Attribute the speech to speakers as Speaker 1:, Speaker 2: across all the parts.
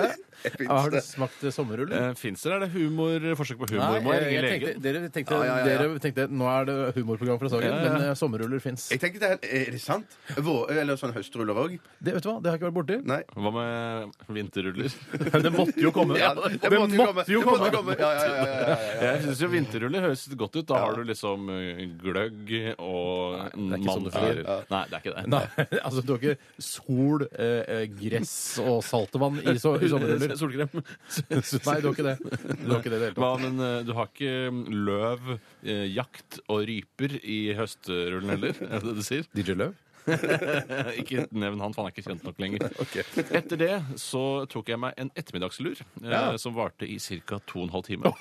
Speaker 1: Ja, Har du smakt sommerruller?
Speaker 2: Eh, Fins det? Er det humor, forsøk på humor?
Speaker 1: Nei,
Speaker 2: Må jeg
Speaker 1: jeg,
Speaker 2: ringe
Speaker 1: tenkte,
Speaker 2: legen?
Speaker 1: dere, tenkte,
Speaker 3: Ja, ja, ja, ja.
Speaker 1: dere tenkte nå er det humorprogram fra Sagen,
Speaker 2: Ja, ja, ja.
Speaker 1: men eh, sommerruller fins.
Speaker 3: Jeg tenker det er, er det sant? Vår, eller sånn høstruller òg?
Speaker 1: Det, vet du hva, det har jeg ikke vært borti.
Speaker 3: Nei.
Speaker 2: Hva med vinterruller?
Speaker 1: Men det måtte jo komme.
Speaker 3: Ja,
Speaker 1: det,
Speaker 3: det
Speaker 1: måtte jo komme.
Speaker 3: Det måtte komme. Ja, ja, ja, ja, ja, ja.
Speaker 2: Jeg syns jo vinterruller høres godt ut. Da har du liksom eh, gløgg og
Speaker 1: det er ikke sånn det
Speaker 2: mandler.
Speaker 1: fungerer.
Speaker 2: Nei, det er ikke det.
Speaker 1: Nei, altså du har ikke sol, eh, eh, gress og saltvann i, so i sommerruller.
Speaker 2: Solkrem.
Speaker 1: Nei, du har ikke det. Du har ikke det i det hele tatt.
Speaker 2: Hva, men eh, du har ikke mm, løv, eh, jakt og ryper i høstrullen heller? Er det det du sier?
Speaker 1: DJ Løv?
Speaker 2: ikke nevn han, for han er ikke kjent nok lenger. Etter det så tok jeg meg en ettermiddagslur eh, som varte i ca. 2 12 timer.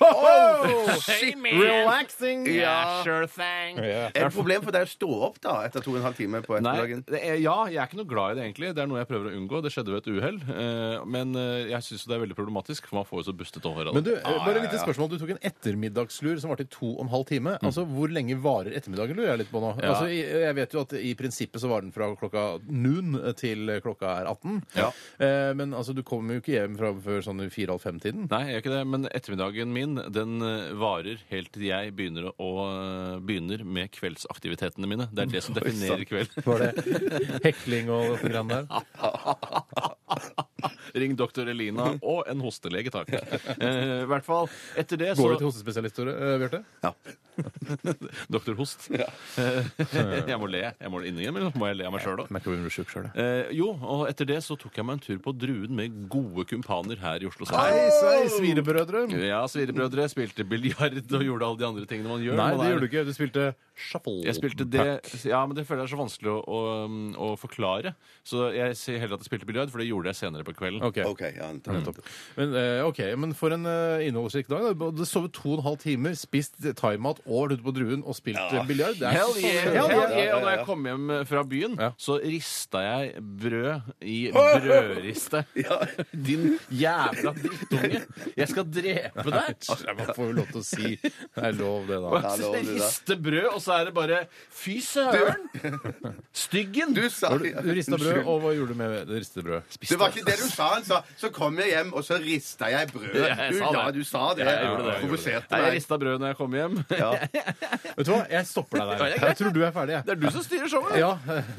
Speaker 1: Relaxing!
Speaker 2: Yeah, sure thing.
Speaker 3: Er det et problem for deg å stå opp da etter to og en halv time på
Speaker 2: Nei,
Speaker 3: ettermiddagen?
Speaker 2: det er, ja, jeg er ikke noe glad i det, egentlig. Det er noe jeg prøver å unngå. Det skjedde ved et uhell. eh, Men eh, jeg syns det er veldig problematisk, for man får jo så bustete hår av
Speaker 1: Men du,
Speaker 2: det.
Speaker 1: eh, bare et lite spørsmål. Du tok en ettermiddagslur som varte i to og en halv time. Altså, Hvor lenge varer ettermiddagen, lurer jeg litt på nå.
Speaker 2: Ja.
Speaker 1: Altså, i- Jeg vet jo at i prinsippet så varer den fra klokka noon til klokka er 18.
Speaker 2: Ja.
Speaker 1: Eh, Men altså, du kommer jo ikke hjem fra før sånn i fire-halv fem-tiden.
Speaker 2: Nei, jeg gjør ikke det, men ettermiddagen min den eh, varer helt til jeg begynner, å, å- begynner med kveldsaktivitetene mine. Det er det som definerer kveld.
Speaker 1: Var det hekling og noe grann der?
Speaker 2: Ring doktor Elina og en hostelege, takk. Eh, I hvert fall etter det
Speaker 1: Går du til
Speaker 2: så
Speaker 1: hostespesialist, Tore, eh, Bjarte?
Speaker 2: Doktor Host. Eh, jeg må le. Jeg må le inni men må jeg le av meg sjøl òg.
Speaker 1: Merker du blir sjuk sjøl, jeg.
Speaker 2: Eh, jo, og etter det så tok jeg meg en tur på Druen med gode kumpaner her i Oslo
Speaker 1: Hei,
Speaker 2: sentrum.
Speaker 1: svei, svirebrødre.
Speaker 2: Ja, svirebrødre, spilte biljard og gjorde alle de andre tingene man gjør.
Speaker 1: Nei,
Speaker 2: når man
Speaker 1: det
Speaker 2: er-
Speaker 1: gjorde du ikke. Du spilte shuffle.
Speaker 2: Jeg spilte det Ja, men det føler jeg er så vanskelig å, å, um, å forklare. Så jeg sier heller at jeg spilte biljard, for det gjorde jeg senere på kvelden.
Speaker 1: Ok.
Speaker 3: OK. Ja, nettopp.
Speaker 1: Men, eh, ok, men for en eh, innholdsrik dag. da. Du hadde sovet to og en halv timer, spist thaimat og vært ute på Druen og spilt eh, biljard. Det er
Speaker 2: Hell
Speaker 1: så-
Speaker 2: yeah!
Speaker 1: Hell
Speaker 2: Hell
Speaker 1: yeah.
Speaker 2: yeah. Og da jeg kom hjem fra byen,
Speaker 1: Ja.
Speaker 2: så rista jeg brød i brødriste. Din jævla drittunge! Jeg skal drepe deg!
Speaker 1: Altså, Man får jo lov til å si det er lov, det, da.
Speaker 3: det er lov, det der.
Speaker 2: Riste brød og så er det bare Fy søren! Styggen!
Speaker 3: Du sa
Speaker 2: Har du rista brød, og hva gjorde du med det ristede brødet?
Speaker 3: Det var ikke det du sa. Han sa så kom jeg hjem, og så rista jeg brød.
Speaker 2: Ja, jeg
Speaker 3: du,
Speaker 2: sa det.
Speaker 3: ja, du sa det.
Speaker 2: Ja, jeg gjorde det, jeg
Speaker 3: Provoserte
Speaker 2: Nei, jeg
Speaker 3: meg.
Speaker 2: rista brød når jeg kom hjem.
Speaker 1: Vet du hva, jeg stopper deg der. Jeg tror du er ferdig, jeg.
Speaker 2: Det er du som styrer showet!
Speaker 1: Ja,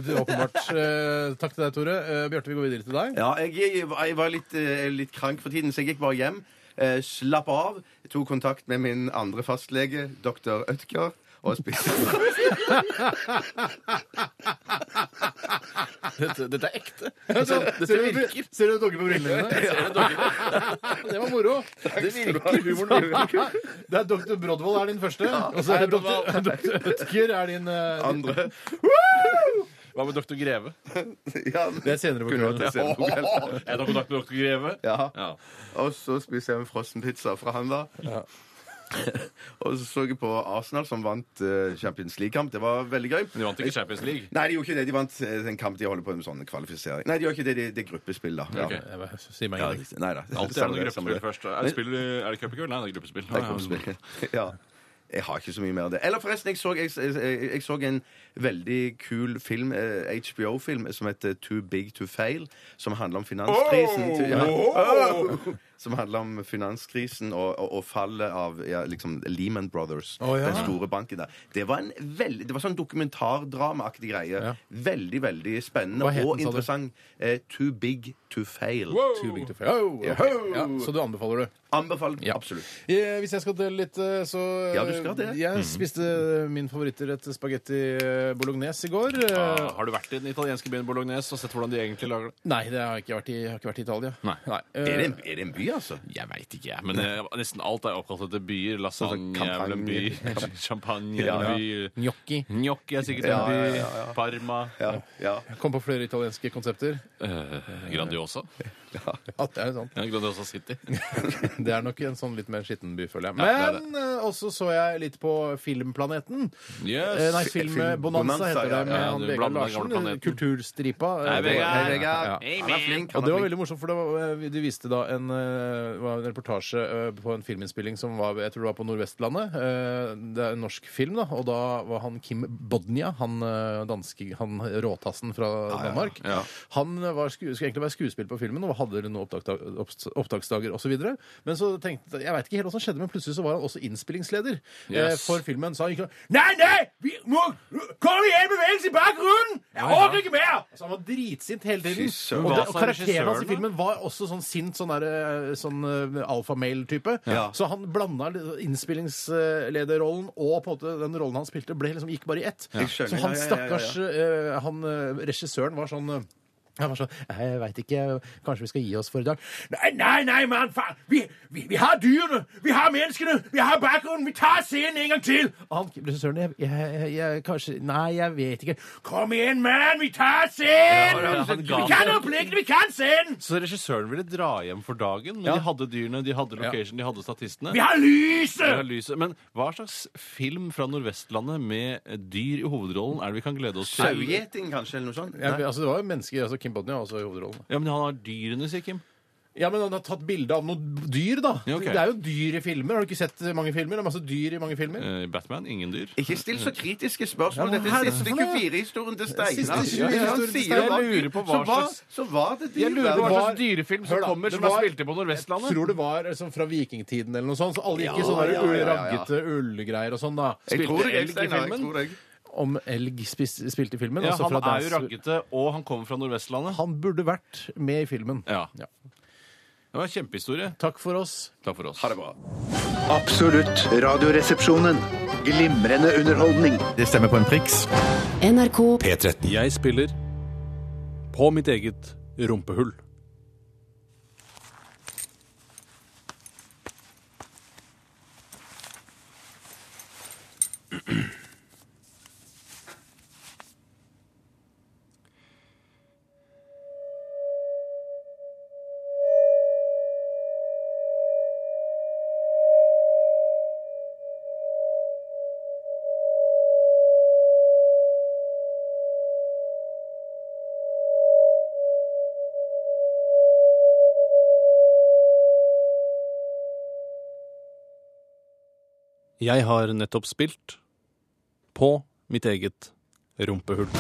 Speaker 1: det er åpenbart. Eh, Takk til deg, Tore. Eh, Bjarte, vi går videre til deg.
Speaker 3: Ja, jeg, jeg, var- jeg var litt, eh, litt krank for tiden, så jeg gikk bare hjem. Eh, slapp av. Tok kontakt med min andre fastlege, dr. Ødker. Og spiste
Speaker 2: Dette, dette er ekte. Dette, dette virker.
Speaker 1: Ser du dogger på brillene dine? Det var moro.
Speaker 2: Det virker. Humoren virker.
Speaker 1: Det er Dr. Brodvold er din første, og så er Dr. Dr. Ødker er din eh,
Speaker 3: andre.
Speaker 2: Hva med doktor Greve?
Speaker 3: Ja,
Speaker 1: Det er senere på
Speaker 3: kunne vært
Speaker 1: kvelden.
Speaker 3: det senere på kvelden.
Speaker 2: Jeg tar kontakt med doktor Greve.
Speaker 3: Ja.
Speaker 2: Ja.
Speaker 3: Og så spiste jeg en frossenpizza fra han da. og så så jeg på Arsenal, som vant eh, Champions League-kamp. Det var veldig gøy.
Speaker 2: Men de vant ikke Champions League.
Speaker 3: Nei, de gjorde ikke det. De vant eh, en kamp de holder på med sånn kvalifisering. Nei, de gjorde ikke det. Det det er gruppespill, da. Ja.
Speaker 2: Ok.
Speaker 1: Jeg bare- Eh, Si meg
Speaker 3: Ja,
Speaker 1: ingenting.
Speaker 3: riktig. Nei da.
Speaker 2: Alltid er det
Speaker 3: Samme
Speaker 2: noe
Speaker 3: det, samme
Speaker 2: gruppespill
Speaker 3: det.
Speaker 2: først. Er det, spill, er det cup i kveld? Nei, det er gruppespill.
Speaker 3: Det er gruppespill. Ja. Jeg har ikke så mye mer av det. Eller forresten, jeg så, jeg, jeg, jeg så en veldig kul film, eh, HBO-film, som heter Too Big to Fail, som handler om finanskrisen. til- ja.
Speaker 1: Oh!
Speaker 3: Som handler om finanskrisen og, og, og fallet av ja, liksom Lehman Brothers.
Speaker 1: Å, ja.
Speaker 3: Den store banken der. Det var en veldig, det var sånn dokumentardramaaktig greie.
Speaker 1: Ja.
Speaker 3: Veldig, veldig spennende
Speaker 1: Hva het
Speaker 3: og
Speaker 1: den, sa du?
Speaker 3: interessant. Eh, Too Big to Fail.
Speaker 1: Too big to fail. Oh, ok. ja, så du anbefaler det?
Speaker 3: Anbefalt
Speaker 1: Ja.
Speaker 3: absolutt.
Speaker 1: Eh, Hvis jeg skal dele litt, eh, så eh,
Speaker 3: Ja, du skal det.
Speaker 2: Mhm.
Speaker 1: Jeg spiste min favorittrett spagetti eh, bolognese i går. Eh,
Speaker 2: Ja, har du vært i den italienske byen Bolognese og sett hvordan de egentlig lager det?
Speaker 1: Nei, det har jeg ikke vært i, jeg har ikke vært i Italia.
Speaker 2: Nei.
Speaker 1: Eh,
Speaker 3: Er det, en, er det en by, altså?
Speaker 2: Jeg veit ikke, jeg. Men eh, nesten alt er oppkalt etter byer.
Speaker 3: Altså,
Speaker 2: Lasagne er vel en by. Champagne er en by.
Speaker 1: Gnocchi.
Speaker 2: Gnocchi er sikkert en by. Parma.
Speaker 3: Ja, ja.
Speaker 1: Kom på flere italienske konsepter.
Speaker 2: Eh, Grandiosa.
Speaker 1: At det er sånn.
Speaker 2: Ja, Grandiosa City.
Speaker 1: Det er nok en sånn litt mer skitten by, føler jeg.
Speaker 2: Ja, det er
Speaker 1: Men eh, også så jeg litt på Filmplaneten. Eh,
Speaker 2: Yes.
Speaker 1: Nei, Filmbonanza
Speaker 3: Bonanza,
Speaker 1: heter det,
Speaker 3: ja,
Speaker 1: med
Speaker 2: ja,
Speaker 1: han
Speaker 2: du blander den
Speaker 1: Vegard
Speaker 2: gamle
Speaker 1: Larsen.
Speaker 2: planeten.
Speaker 1: Kulturstripa. eh,
Speaker 2: Hei, Vegard.
Speaker 3: Hei,
Speaker 1: Ja, ja, ja.
Speaker 3: Vegard. Han er flink.
Speaker 1: Og
Speaker 3: Han er
Speaker 1: det var
Speaker 3: flink.
Speaker 1: veldig morsomt, for det var, eh, de viste da en, eh, var en reportasje eh, på en filminnspilling som var jeg tror det var på Nordvestlandet. Eh, Det er en norsk film, da, og da var han Kim Bodnia, han eh, danske, han råtassen fra Danmark.
Speaker 2: ja.
Speaker 1: Han var, sku- skulle egentlig være skuespiller på filmen og hadde noen opptak, opps- opptaksdager osv. Men så tenkte jeg vet ikke helt hva som skjedde, men plutselig så var han også innspillingsleder eh,
Speaker 2: Yes.
Speaker 1: for filmen. Så han gikk og Nei, nei! Vi må Kom igjen, bevegelse i bakgrunnen! Jeg orker ikke mer! Så Altså, han var dritsint hele tiden.
Speaker 3: søren.
Speaker 1: Og, det,
Speaker 2: Hva
Speaker 1: og
Speaker 2: sa
Speaker 1: karakteren hans
Speaker 2: regissøren
Speaker 1: i
Speaker 2: da?
Speaker 1: filmen var også sånn sint, sånn, der, eh, sånn eh, alfamale-type.
Speaker 3: Ja.
Speaker 1: Så han blanda litt innspillingslederrollen og på en måte den rollen han spilte, ble liksom, gikk bare i ett.
Speaker 3: Jeg skjønner.
Speaker 1: Så han
Speaker 3: Ja, ja, ja, ja, ja.
Speaker 1: stakkars eh, han, eh, regissøren var sånn eh, han var sånn Jeg veit ikke. Kanskje vi skal gi oss for i dag? Nei, nei, nei mann! Faen! Vi, vi, vi har dyrene! Vi har menneskene! Vi har bakgrunnen! Vi tar scenen en gang til! Og han regissøren jeg, jeg, jeg, jeg Kanskje Nei, jeg vet ikke. Kom igjen, mann! Vi tar scenen!
Speaker 2: Ja, ja, han ga
Speaker 1: vi
Speaker 2: seg.
Speaker 1: kan øyeblikkene! Vi kan scenen!
Speaker 2: Så regissøren ville dra hjem for dagen, men de hadde dyrene, de hadde location, de hadde statistene.
Speaker 1: Vi har
Speaker 2: Det er
Speaker 1: lyset!
Speaker 2: lyset. Men hva slags film fra Nordvestlandet med dyr i hovedrollen er det vi kan glede oss til?
Speaker 3: Sauegjeting, kanskje, eller noe sånt?
Speaker 1: Ja, altså, det var jo mennesker, altså Kim Bodnia også i hovedrollen.
Speaker 2: Ja, men han har dyrene, sier Kim.
Speaker 1: Ja, men han har tatt bilde av noe dyr, da.
Speaker 2: Ja, ok.
Speaker 1: Det er jo dyr i filmer. Har du ikke sett mange filmer? Det er masse dyr i mange filmer.
Speaker 2: Eh, Batman, ingen dyr.
Speaker 3: Ikke still så kritiske spørsmål.
Speaker 1: Ja, men
Speaker 3: Dette
Speaker 1: her-
Speaker 3: er siste
Speaker 1: hvorfor det?
Speaker 3: 24-historien til Steinar. Ja,
Speaker 1: Siste 24-historien
Speaker 3: han sier det
Speaker 1: til
Speaker 3: var-
Speaker 2: Steinar. Jeg lurer på hva
Speaker 3: så var-
Speaker 2: slags-
Speaker 3: Så var det de
Speaker 2: Jeg lurer på
Speaker 1: Det
Speaker 2: hva
Speaker 1: var-
Speaker 2: slags dyrefilm
Speaker 1: Hør
Speaker 2: som
Speaker 1: da,
Speaker 2: kommer
Speaker 1: det
Speaker 2: som er
Speaker 1: var-
Speaker 2: spilt inn på
Speaker 1: Jeg
Speaker 2: Nordvestlandet.
Speaker 1: tror det var liksom, fra vikingtiden eller noe sånt. Så alle gikk i
Speaker 3: Ja,
Speaker 1: sånne
Speaker 3: ja, ja, ja.
Speaker 1: raggete ullgreier og sånn, da.
Speaker 3: Jeg tror
Speaker 2: Spilte
Speaker 3: det, jeg,
Speaker 2: elg i
Speaker 3: Steinar. Jeg
Speaker 2: filmen?
Speaker 3: tror det.
Speaker 1: Om elg spis, spilte i filmen.
Speaker 2: Ja,
Speaker 1: altså
Speaker 2: han
Speaker 1: fra
Speaker 2: er jo
Speaker 1: Dance-
Speaker 2: raggete, og han kommer fra Nordvestlandet.
Speaker 1: Han burde vært med i filmen.
Speaker 2: Ja. Det var en kjempehistorie.
Speaker 1: Takk for oss.
Speaker 2: Takk for oss.
Speaker 3: Ha det bra.
Speaker 4: Absolutt. Radioresepsjonen. Glimrende underholdning.
Speaker 5: Det stemmer på en priks.
Speaker 6: NRK
Speaker 7: P13.
Speaker 8: Jeg spiller på mitt eget rumpehull. Jeg har nettopp spilt
Speaker 9: på mitt eget rumpehull.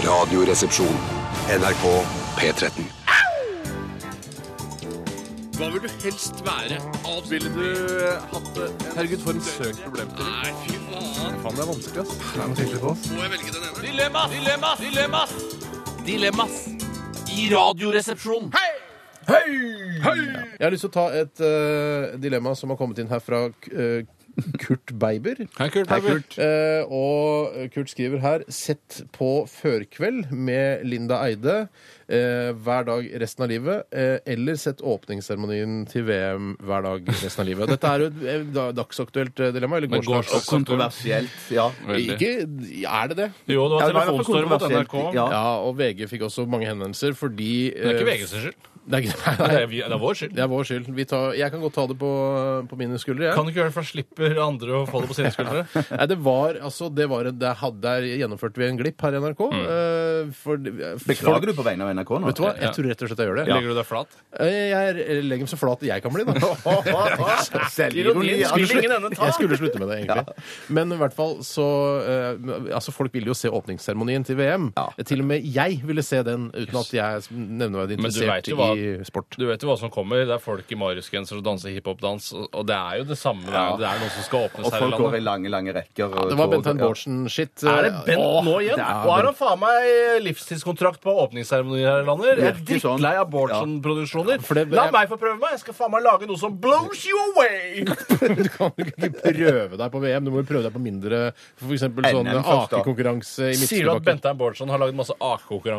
Speaker 7: Radioresepsjon. NRK P13.
Speaker 2: Hva vil du helst være? Ville du eh, hatt det? Herregud, for en søk problemstilling. Nei, fy faen. Faen, det er vanskelig, ass. Må jeg velge den ene? Dilemmas! Dilemmas! Dilemmas! Dilemmas! I radioresepsjonen.
Speaker 1: Jeg har lyst til å ta et eh, dilemma som har kommet inn her fra eh, Kurt Beiber.
Speaker 2: Hei, Kurt. Hei, Kurt.
Speaker 1: Eh, og Kurt skriver her Sett på Førkveld med Linda Eide eh, hver dag resten av livet. eh, eller sett åpningsseremonien til VM hver dag resten av livet. Dette er jo et eh, da- dagsaktuelt eh, dilemma. Eller
Speaker 2: Men
Speaker 1: gårsdags.
Speaker 2: gårsdags-
Speaker 10: Kontroversielt, ja.
Speaker 2: Veldig.
Speaker 1: Ikke, er det det?
Speaker 2: Jo,
Speaker 10: Ja, det
Speaker 2: det var
Speaker 10: var i hvert fall
Speaker 2: telefonstorm mot NRK.
Speaker 10: kontroversielt, ja.
Speaker 1: Ja. og VG fikk også mange henvendelser fordi
Speaker 2: Det er ikke
Speaker 1: eh,
Speaker 2: VG sin skyld.
Speaker 1: Det er, ikke, nei,
Speaker 2: Det
Speaker 1: nei,
Speaker 2: er, vi- det er vår skyld.
Speaker 1: det er vår skyld. Vi tar, jeg kan godt ta det på, på mine skuldre. Jeg.
Speaker 2: Kan du ikke gjøre det, for da slipper andre å få det på sine skuldre.
Speaker 1: Nei, det var, altså, det var, en- der, hadde, der gjennomførte vi en glipp her i NRK.
Speaker 2: Mm.
Speaker 1: eh, for,
Speaker 10: Beklager du på vegne av NRK nå?
Speaker 1: Vet du hva? Jeg tror rett og slett jeg gjør det.
Speaker 2: Legger du deg flat?
Speaker 1: Eh, Jeg er- legger dem så flat jeg kan bli, da.
Speaker 10: Selvironi.
Speaker 1: Jeg skulle slutte- Jeg skulle slutte med det, egentlig. Men i hvert fall så eh, Altså, folk ville jo se åpningsseremonien til VM. Til og med jeg ville se den, uten at jeg er nevneverdig
Speaker 2: Men du
Speaker 1: interessert
Speaker 2: vet jo hva-
Speaker 1: i sport.
Speaker 2: Du vet jo hva som kommer. Det er folk i mariusgenser og danser hiphop-dans. og- Og det er jo det samme. Det er, det er noen som skal åpnes
Speaker 10: Og
Speaker 2: her i
Speaker 10: folk går i
Speaker 2: landet.
Speaker 10: lange, lange rekker. og
Speaker 1: Det var
Speaker 10: tog,
Speaker 1: Bentein
Speaker 10: ja.
Speaker 1: Bårdsen-shit.
Speaker 2: Er det Bent nå igjen?
Speaker 10: det er
Speaker 2: Og har han faen meg livstidskontrakt på åpningsseremonier her i landet? Jeg er
Speaker 10: Virker sånn.
Speaker 2: drittlei av Bårdsen-produksjoner.
Speaker 1: for det-
Speaker 2: La
Speaker 1: jeg-
Speaker 2: meg få prøve meg! Jeg skal faen meg lage noe som blows you away!
Speaker 1: Du kan jo ikke prøve deg på VM. Du må jo prøve deg på mindre f.eks. sånn
Speaker 10: NM først, da.
Speaker 1: akekonkurranse
Speaker 2: Sier
Speaker 1: i
Speaker 2: du at
Speaker 1: Midtskobakken.
Speaker 2: Bentheim Bårdsen har lagd masse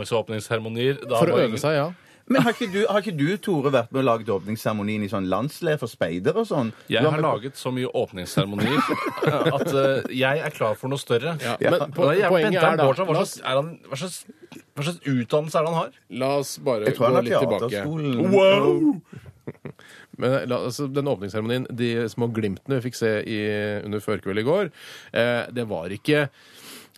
Speaker 2: AK-konkurranseåpningsseremonier?
Speaker 1: For å øve seg, ja.
Speaker 3: Men har ikke, du, har ikke du, Tore, vært med og laget åpningsseremonien i sånn landsleir for speidere og sånn?
Speaker 2: Jeg
Speaker 3: Du
Speaker 2: har
Speaker 3: var med-
Speaker 2: laget så mye åpningsseremonier at eh, jeg er klar for noe større.
Speaker 1: Men po-
Speaker 2: Og det er
Speaker 1: poenget er
Speaker 2: Bentheim
Speaker 1: da
Speaker 2: Bårdsen,
Speaker 1: la
Speaker 2: hva
Speaker 1: oss,
Speaker 2: slags, er han, hva, slags, hva slags utdannelse er det han har?
Speaker 1: la oss bare
Speaker 3: Jeg tror
Speaker 1: gå
Speaker 3: han har
Speaker 1: litt tilbake.
Speaker 3: teaterskolen.
Speaker 1: Men la, altså, den åpningsseremonien, de små glimtene vi fikk se i, under førkveld i går, eh, det var ikke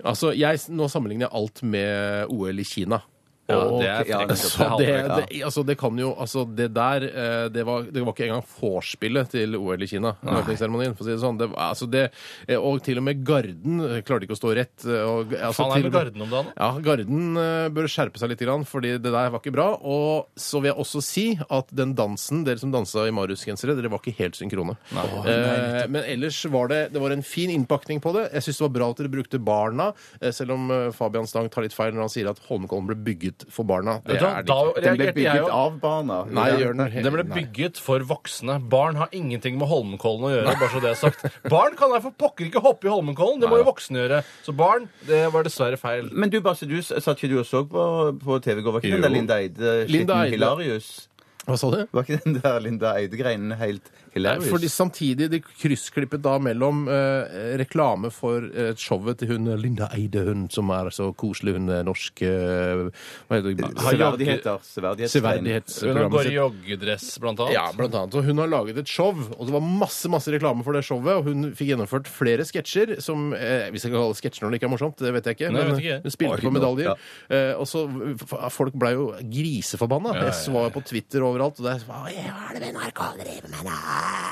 Speaker 1: Altså, jeg, nå sammenligner jeg alt med OL i Kina.
Speaker 2: Ja,
Speaker 1: Og-
Speaker 2: det er frekt.
Speaker 1: ja,
Speaker 2: Det er
Speaker 1: så det,
Speaker 2: halvfrekt, ja.
Speaker 1: det, altså, det kan jo Altså, det der eh, Det var, det var ikke engang vorspielet til OL i Kina. den Åpningsseremonien, for å si det sånn. Det, var- altså, det, eh, og til og med Garden eh, klarte ikke å stå rett. eh, Og, altså,
Speaker 2: Faen, er det med
Speaker 1: til og med-
Speaker 2: Garden om dagen?
Speaker 1: ja, Garden eh, bør skjerpe seg litt, grann, fordi det der var ikke bra. Og så vil jeg også si at den dansen, dere som dansa i Marius-gensere, dere var ikke helt synkrone. Eh, men ellers var det det var en fin innpakning på det. Jeg syns det var bra at dere brukte barna, eh, selv om eh, Fabian Stang tar litt feil når han sier at Holmenkollen ble bygget for barna. Det
Speaker 2: Da,
Speaker 1: er det
Speaker 2: da
Speaker 3: Den
Speaker 1: ikke.
Speaker 3: ble
Speaker 2: reagerte jeg
Speaker 3: bygget
Speaker 2: jo.
Speaker 3: av barna.
Speaker 1: Nei, gjør den he-
Speaker 2: Det ble
Speaker 1: nei.
Speaker 2: bygget for voksne. Barn har ingenting med Holmenkollen å gjøre. bare så det er sagt. Barn kan da for pokker ikke hoppe i Holmenkollen. Det må jo voksne gjøre. Så barn, det var dessverre feil.
Speaker 3: Men du, Basse, du s- satt ikke du og så på, på TV i går? Var ikke den der Linda Eide
Speaker 1: Linda
Speaker 3: skitten
Speaker 1: Eide.
Speaker 3: hilarious?
Speaker 1: Hva sa du?
Speaker 3: Var ikke den der Linda Eide-greinen helt hilarious?
Speaker 1: Eh, Fordi samtidig de kryssklippet da mellom eh, reklame for eh, showet til hun Linda Eide, hun som er så koselig, hun er norsk eh, Hva heter det?
Speaker 3: Severdigheter. Severdighetsgrein.
Speaker 2: Hun
Speaker 1: Severdighetsprogrammet
Speaker 2: går i
Speaker 1: sitt.
Speaker 2: joggedress, blant annet.
Speaker 1: Ja, blant annet. Og hun har laget et show, og det var masse masse reklame for det showet. Og hun fikk gjennomført flere sketsjer som eh, Hvis jeg kan kalle det sketsjer når det ikke er morsomt, det vet jeg ikke.
Speaker 2: Nei, jeg
Speaker 1: men
Speaker 2: vet ikke.
Speaker 1: hun spilte på medaljer. Eh, og så f- Folk blei jo griseforbanna. Jeg så på Twitter overalt, og der Hva er det med NRK driver med, da?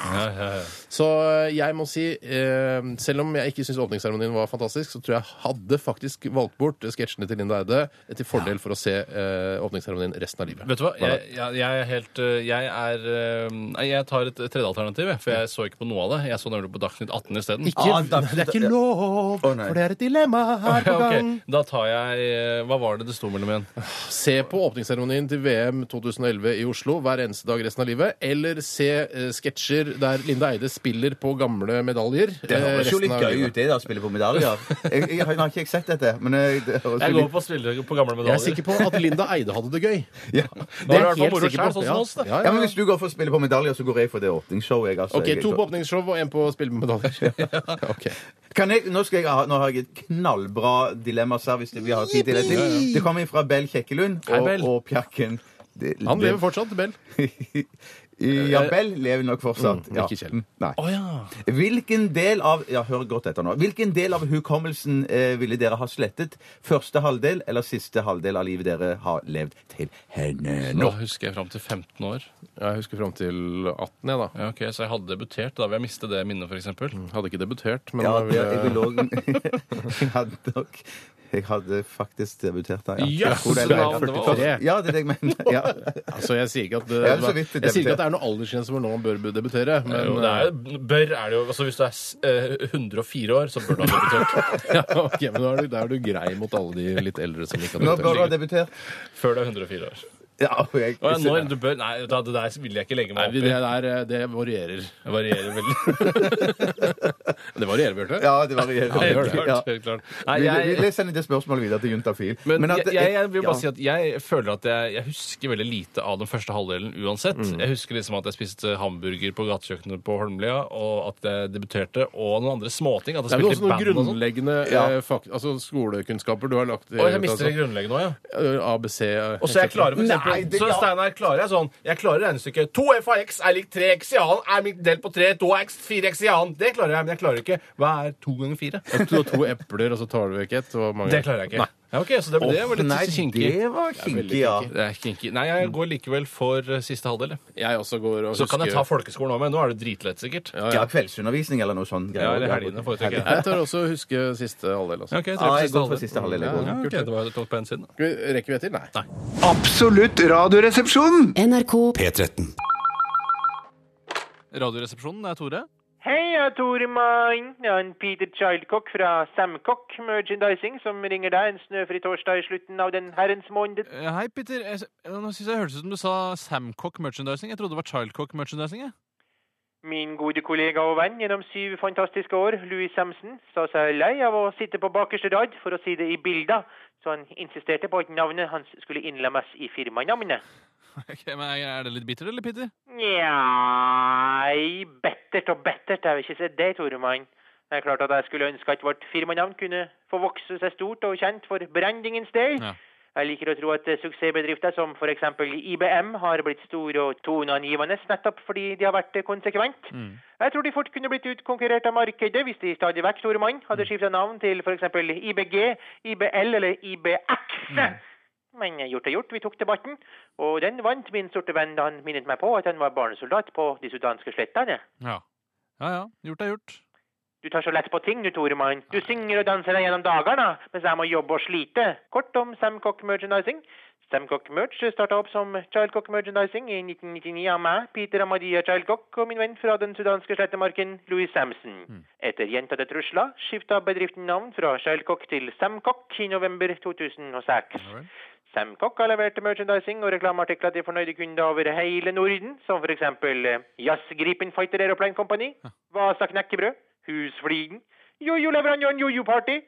Speaker 2: Ja, ja, ja.
Speaker 1: Så jeg må si, eh, selv om jeg ikke syns åpningsseremonien var fantastisk, så tror jeg hadde faktisk valgt bort sketsjene til Linda Eide til fordel for å se eh, åpningsseremonien resten av livet.
Speaker 2: Vet du hva? Jeg, jeg, jeg er helt øh, Jeg er øh, Nei, jeg tar et tredje alternativ, jeg, for jeg så ikke på noe av det. Jeg så nemlig på Dagsnytt 18 isteden.
Speaker 1: Ikke, det er ikke lov, for det er et dilemma her på
Speaker 2: Ja,
Speaker 1: gang.
Speaker 2: ok. Da tar jeg øh, Hva var det det sto mellom igjen?
Speaker 1: Se på åpningsseremonien til VM 2011 i Oslo hver eneste dag resten av livet, eller se eh, sketsjer der Linda Eide spiller på gamle medaljer.
Speaker 3: Det
Speaker 1: eh,
Speaker 3: høres jo
Speaker 1: resten
Speaker 3: litt
Speaker 1: av
Speaker 3: gøy
Speaker 1: livet.
Speaker 3: ut, det der, å spille på medaljer. Jeg, jeg, har ikke jeg sett dette, men eh, det høres
Speaker 2: Jeg
Speaker 3: jo
Speaker 2: går
Speaker 3: litt
Speaker 2: på spillere på gamle
Speaker 1: Jeg er
Speaker 2: medaljer.
Speaker 1: sikker på at Linda Eide hadde det gøy.
Speaker 3: ja.
Speaker 2: Da er det i hvert
Speaker 1: jeg
Speaker 2: fall
Speaker 1: helt
Speaker 2: moro
Speaker 1: sikker
Speaker 2: selv, sånn som oss, da.
Speaker 1: Ja,
Speaker 3: ja,
Speaker 1: ja,
Speaker 3: men
Speaker 1: ja.
Speaker 3: Hvis du går for å spille på medaljer, så går jeg for det åpningsshowet. jeg, Altså,
Speaker 1: OK,
Speaker 3: Jeg-
Speaker 1: to på åpningsshow og én på spill med medaljer. Ok.
Speaker 3: Kan jeg, nå, skal jeg ha, nå har jeg et knallbra dilemma her, hvis det, vi har tid til det. Det- Det kommer fra Bell Kjekkelund
Speaker 1: Hei,
Speaker 3: og,
Speaker 1: Bell.
Speaker 3: og Pjakken. Det-
Speaker 1: Han
Speaker 3: det-
Speaker 1: lever fortsatt, Bell.
Speaker 3: Ja vel, lever nok fortsatt.
Speaker 1: Mm,
Speaker 3: Ja.
Speaker 1: ikke Kjell.
Speaker 3: Mm, Nei. Hvilken del av ja, hør godt etter nå. Hvilken del av hukommelsen eh, ville dere ha slettet? Første halvdel eller siste halvdel av livet dere har levd til henne
Speaker 2: Nå
Speaker 3: nå?
Speaker 2: husker jeg fram til 15 år.
Speaker 1: Jeg husker fram til 18, jeg, da.
Speaker 2: Ja, ok, Så jeg hadde debutert. Da vil jeg miste det minnet, f.eks.
Speaker 1: Mm, Hadde ikke debutert, men
Speaker 3: Ja,
Speaker 1: eh, jeg
Speaker 3: det,
Speaker 1: ville-
Speaker 3: jeg vil òg Jeg hadde nok jeg hadde faktisk debutert da.
Speaker 2: Jøss,
Speaker 3: Hvor er det?
Speaker 2: navn, det var-
Speaker 3: 43. Ja, det er det jeg mener. Ja.
Speaker 1: Altså, jeg sier ikke at det,
Speaker 3: Jeg er så vidt
Speaker 1: jeg sier ikke
Speaker 3: debutert.
Speaker 1: at det er noen aldersgrense hvor noen bør debutere, men eh,
Speaker 2: Jo, det er, jo- bør er det jo altså Hvis du er s- eh, 104 år, så bør du ha debutert.
Speaker 1: eh, ja, ok, men da er, du, da er du grei mot alle de litt eldre som ikke har
Speaker 3: Nå bør du ha
Speaker 1: debutert.
Speaker 3: debutert.
Speaker 2: Før du er 104 år.
Speaker 3: Ja, og jeg,
Speaker 2: Å, ja, når du bør, nei, da, det der vil jeg ikke legge
Speaker 1: Nei,
Speaker 2: meg opp
Speaker 1: det,
Speaker 2: i.
Speaker 1: der, eh, det varierer.
Speaker 2: Det varierer veldig.
Speaker 1: Det varierer, Bjarte.
Speaker 3: ja, det varierer.
Speaker 1: det
Speaker 2: Helt
Speaker 1: gjør det.
Speaker 3: Ja.
Speaker 2: klart. Helt klart. Nei,
Speaker 3: Vi, vi,
Speaker 2: jeg,
Speaker 3: vi sender det spørsmålet videre til Juntafil.
Speaker 2: Men,
Speaker 3: at-
Speaker 2: jeg, jeg, jeg vil bare
Speaker 3: ja.
Speaker 2: si at jeg føler at jeg, jeg husker veldig lite av den første halvdelen uansett. Jeg husker liksom at jeg spiste hamburger på gatekjøkkenet på Holmlia, og at jeg debuterte, og noen andre småting. At
Speaker 1: Det
Speaker 2: jeg
Speaker 1: er vel
Speaker 2: spilte i
Speaker 1: også noen
Speaker 2: band og sånn.
Speaker 1: grunnleggende
Speaker 3: Ja.
Speaker 1: eh, fak altså skolekunnskaper du har lagt altså.
Speaker 2: Å, jeg mister det grunnleggende òg, ja.
Speaker 1: Eh, ABC eh,
Speaker 2: Og så jeg klarer for
Speaker 3: Nei,
Speaker 2: eksempel,
Speaker 3: det-
Speaker 2: så
Speaker 3: ja.
Speaker 2: Steinar klarer jeg sånn Jeg klarer regnestykket. 2 f av x er lik 3 x i annen er lik delt på 3. 2 x, 4 x i annen. Det klarer jeg, men jeg klarer ikke hva er 2 ganger 4?
Speaker 1: At Du har to epler, og så tar du vekk ett. og mange-
Speaker 2: Det klarer jeg ikke. Ja, ok, så det, det var litt
Speaker 3: Nei,
Speaker 2: kinkig.
Speaker 3: det var kinkig, ja.
Speaker 2: Det er kinkig. Nei, jeg går likevel for eh, siste halvdel. jeg.
Speaker 1: Jeg også går og
Speaker 2: Så kan jeg ta
Speaker 1: husker-
Speaker 2: folkeskolen òg, men nå er det dritlett, sikkert. Ja,
Speaker 3: Ja, kveldsundervisning eller noe sånt. greier.
Speaker 2: eller helgene foretrekker jeg.
Speaker 1: Jeg tar også å huske siste halvdel. Altså.
Speaker 2: Ja, ok, jeg
Speaker 3: Ja,
Speaker 2: tar
Speaker 3: jeg
Speaker 2: siste
Speaker 3: går for
Speaker 2: halvdel.
Speaker 3: siste halvdel. jeg går.
Speaker 2: Ja, ok, det var tok på en siden. da.
Speaker 1: Skal vi- Rekker vi etter? Nei.
Speaker 7: Absolutt radioresepsjon!
Speaker 6: NRK
Speaker 11: P13.
Speaker 2: Radioresepsjonen, det er Tore.
Speaker 12: Hei, jeg er Tore Mann. Det er en Peter Childcock fra Samcock Merchandising som ringer deg en snøfri torsdag i slutten av den herrens måned.
Speaker 2: Eh, Hei, Peter. Jeg, s- nå syns jeg hørtes ut som du sa Samcock Merchandising. Jeg trodde det var Childcock Merchandising. jeg.
Speaker 12: Min gode kollega og venn gjennom syv fantastiske år, Louis Samson, sa seg lei av å sitte på bakerste rad, for å si det i bilder, så han insisterte på at navnet hans skulle innlemmes i firmanavnet.
Speaker 2: Ok, men Er det litt bitter, eller, Peter?
Speaker 12: Nei, bettert og bettert. Jeg vil ikke si det, Toremann. Det er klart at jeg skulle ønske at vårt firmanavn kunne få vokse seg stort og kjent for brandingens del.
Speaker 2: Ja.
Speaker 12: Jeg liker å tro at eh, suksessbedrifter som f.eks. IBM har blitt store og toneangivende nettopp fordi de har vært eh, konsekvent. Jeg tror de fort kunne blitt utkonkurrert av markedet hvis de stadig vekk, Toremann, hadde skifta navn til f.eks. IBG, IBL eller IBX. Men gjort er gjort, vi tok debatten, og den vant min sorte venn da han minnet meg på at han var barnesoldat på de sudanske slettene.
Speaker 2: Ja. Ja ja. Gjort er gjort.
Speaker 12: Du tar så lett på ting, du, Toremann. Du synger og danser deg gjennom dagene, mens jeg må jobbe og slite. Kort om Samcock Merchandising. Samcock Merch starta opp som Childcock Merchandising i 1999 av meg, Peter og Maria Childcock og min venn fra den sudanske slettemarken, Louis
Speaker 2: Mm.
Speaker 12: Samson. Etter gjentatte trusler skifta bedriften navn fra Childcock til Samcock i november 2006. Samcock har levert merchandising og reklameartikler til fornøyde kunder over hele Norden, som for eksempel eh, Jazzgripen Fighter Aeroplane Company, Vasa Knekkebrød, Husfligen, Jojo-leverandøren Jojo Party,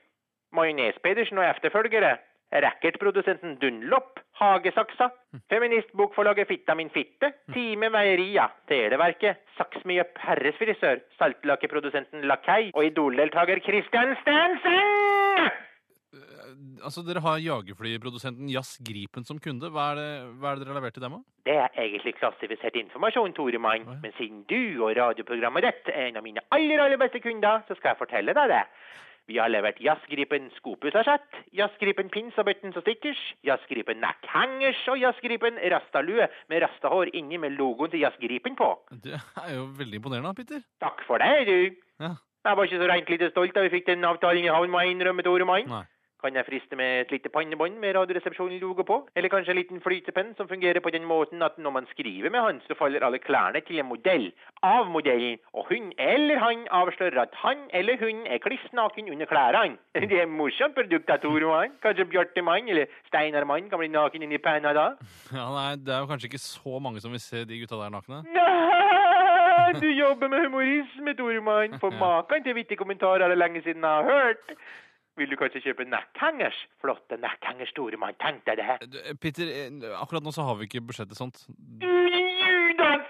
Speaker 12: Majones Pedersen og efterfølgere, racketprodusenten Dunlop, Hagesaksa, feministbokforlaget Fitta min fitte, Time Meieria, Televerket, Saksmyøp Herresfrisør, saltlakeprodusenten Lakei og idoldeltaker Christian Stansen!
Speaker 2: Altså, Dere har jagerflyprodusenten Jazz Gripen som kunde. Hva er det, hva er det dere har levert til dem, da?
Speaker 12: Det er egentlig klassifisert informasjon, Toremann. Men siden du og radioprogrammet ditt er en av mine aller, aller beste kunder, så skal jeg fortelle deg det. Vi har levert jazzgripen skopusasjett, jazzgripen pins og buttons og stickers, jazzgripen neckhangers og jazzgripen rastalue med rastahår inni med logoen til jazzgripen på.
Speaker 2: Det er jo veldig imponerende, da, Peter.
Speaker 12: Takk for det, du.
Speaker 2: Ja.
Speaker 12: Jeg var ikke så rent lite stolt da vi fikk den avtalen i havn, må jeg innrømme, Toremann.
Speaker 2: Nei.
Speaker 12: Kan jeg friste med et lite pannebånd med radioresepsjonen-logo på? Eller kanskje en liten flytepenn som fungerer på den måten at når man skriver med han, så faller alle klærne til en modell av modellen, og hun eller han avslører at han eller hun er kliss naken under klærne. Det er et morsomt produkt, da, Toremann. Kanskje Bjarte Mann eller Steinar Mann kan bli naken inni panna da?
Speaker 2: Ja, nei, Det er jo kanskje ikke så mange som vil se de gutta der nakne.
Speaker 12: Nei, du jobber med humorisme, Toremann. For maken til vittige kommentarer er det lenge siden jeg har hørt. Vil du kanskje kjøpe nekkhengers? Flotte nekkhengers, Toremann. Tenk deg det.
Speaker 2: Du, eh, Peter, eh, akkurat nå så har vi ikke budsjett til sånt.
Speaker 12: Judas!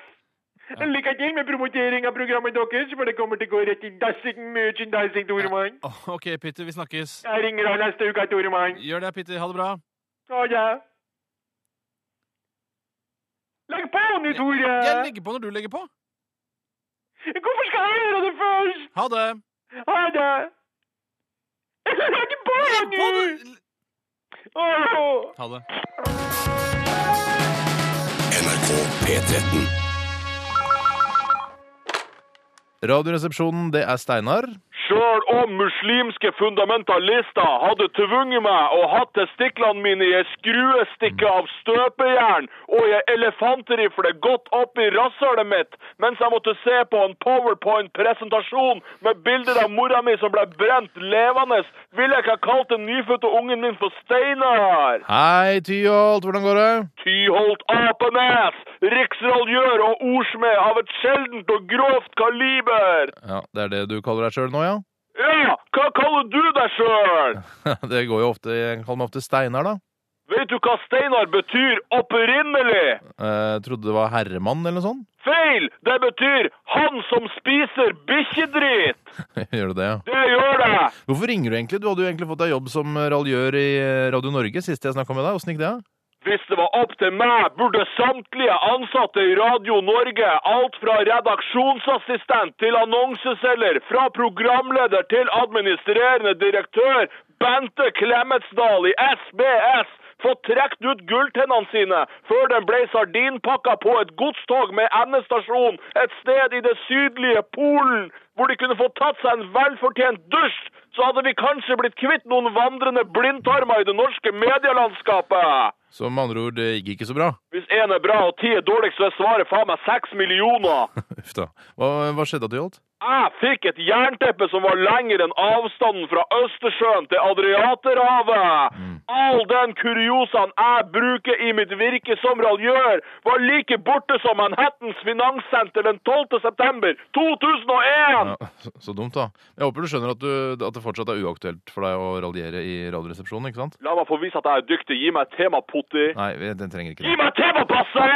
Speaker 12: Lykke til med promotering av programmet deres, for det kommer til å gå rett i dassing merchandising, Toremann.
Speaker 2: Åh, OK, Peter, vi snakkes.
Speaker 12: Jeg ringer han neste uke, Toremann.
Speaker 2: Gjør det, Peter. Ha det bra.
Speaker 12: Ha det.
Speaker 13: Legg på nå, Tore!
Speaker 2: Jeg legger på når du legger på.
Speaker 13: Hvorfor skal jeg gjøre det først?
Speaker 2: Ha det.
Speaker 13: Ha det! Jeg legger på nå! Åh.
Speaker 2: Ha det.
Speaker 7: NRK P13.
Speaker 1: Radioresepsjonen, det er Steinar.
Speaker 12: Sjøl om muslimske fundamentalister hadde tvunget meg og hatt testiklene mine i ei skruestikke av støpejern og ei elefantrifle godt opp i rasshølet mitt mens jeg måtte se på en powerpoint-presentasjon med bilder av mora mi som ble brent levende, ville jeg ikke ha kalt den nyfødte ungen min for Steinar.
Speaker 1: Hei, Tyholt, hvordan går det?
Speaker 12: Tyholt Apenes, riksroljør og ordsmed av et sjeldent og grovt kaliber.
Speaker 1: Ja, Det er det du kaller deg sjøl nå, ja?
Speaker 12: Ja, hva kaller du deg sjøl?
Speaker 1: det går jo ofte Jeg kaller meg ofte Steinar, da.
Speaker 12: Vet du hva Steinar betyr opprinnelig?
Speaker 1: Eh, trodde det var herremann eller noe sånt.
Speaker 12: Feil! Det betyr 'han som spiser bikkjedrit'.
Speaker 1: gjør du det, ja?
Speaker 12: Det gjør det!
Speaker 1: Hvorfor ringer du egentlig? Du hadde jo egentlig fått deg jobb som raljør i eh, Radio Norge sist jeg snakka med deg. Åssen gikk det? da?
Speaker 12: Hvis det var opp til meg, burde samtlige ansatte i Radio Norge, alt fra redaksjonsassistent til annonseselger, fra programleder til administrerende direktør, Bente Klemetsdal i SBS, fått trukket ut gulltennene sine før den ble sardinpakka på et godstog med endestasjon et sted i det sydlige Polen, hvor de kunne få tatt seg en velfortjent dusj, så hadde vi kanskje blitt kvitt noen vandrende blindtarmer i det norske medielandskapet.
Speaker 1: Så med andre ord, det gikk ikke så bra.
Speaker 12: Hvis én er bra og ti er dårlig, så er svaret faen meg seks millioner.
Speaker 1: Uff da. Hva, hva skjedde, Tyholt?
Speaker 12: Jeg fikk et jernteppe som var lengre enn avstanden fra Østersjøen til Adriaterhavet. All den kuriosaen jeg bruker i mitt virke som raljør, var like borte som Manhattans finanssenter den 12. september
Speaker 1: Ja,
Speaker 12: 2001.
Speaker 1: så, så dumt, da. Jeg håper du skjønner at, du, at det fortsatt er uaktuelt for deg å raljere i Radioresepsjonen, ikke sant?
Speaker 12: La meg få vise at jeg er dyktig. Gi meg et tema, Potti.
Speaker 1: Nei, vi- den trenger ikke det.
Speaker 12: Gi meg et tema, Basse!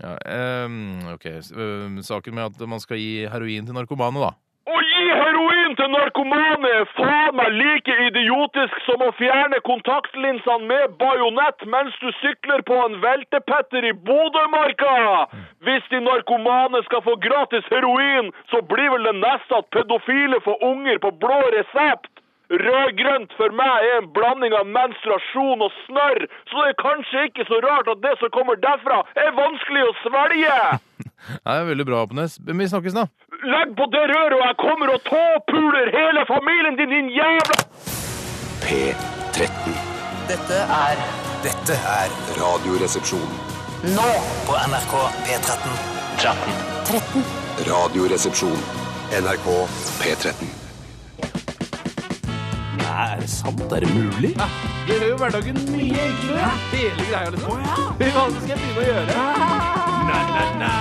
Speaker 1: Ja, ehm, ok, S- ehm, Saken med at man skal gi heroin til narkomane, da.
Speaker 12: Å gi heroin til narkomane er faen meg like idiotisk som å fjerne kontaktlinsene med bajonett mens du sykler på en veltepetter i Bodømarka! Hvis de narkomane skal få gratis heroin, så blir vel det neste at pedofile får unger på blå resept! Rød-grønt for meg er en blanding av menstruasjon og snørr, så det er kanskje ikke så rart at det som kommer derfra, er vanskelig å svelge!
Speaker 1: Nei, veldig bra, Apenes. Men vi snakkes, da.
Speaker 12: Legg på det røret, og jeg kommer og tåpuler hele familien din, din jævla
Speaker 7: P13.
Speaker 14: Dette er
Speaker 7: Dette er Radioresepsjonen.
Speaker 14: nå på NRK P13. 13. 13.
Speaker 7: Radioresepsjon. NRK P13.
Speaker 15: Nei, er det sant? Er det mulig?
Speaker 2: Det gjør jo hverdagen mye enklere. Hele greia, liksom. Hva annet skal jeg begynne å gjøre? Na, na, na, na.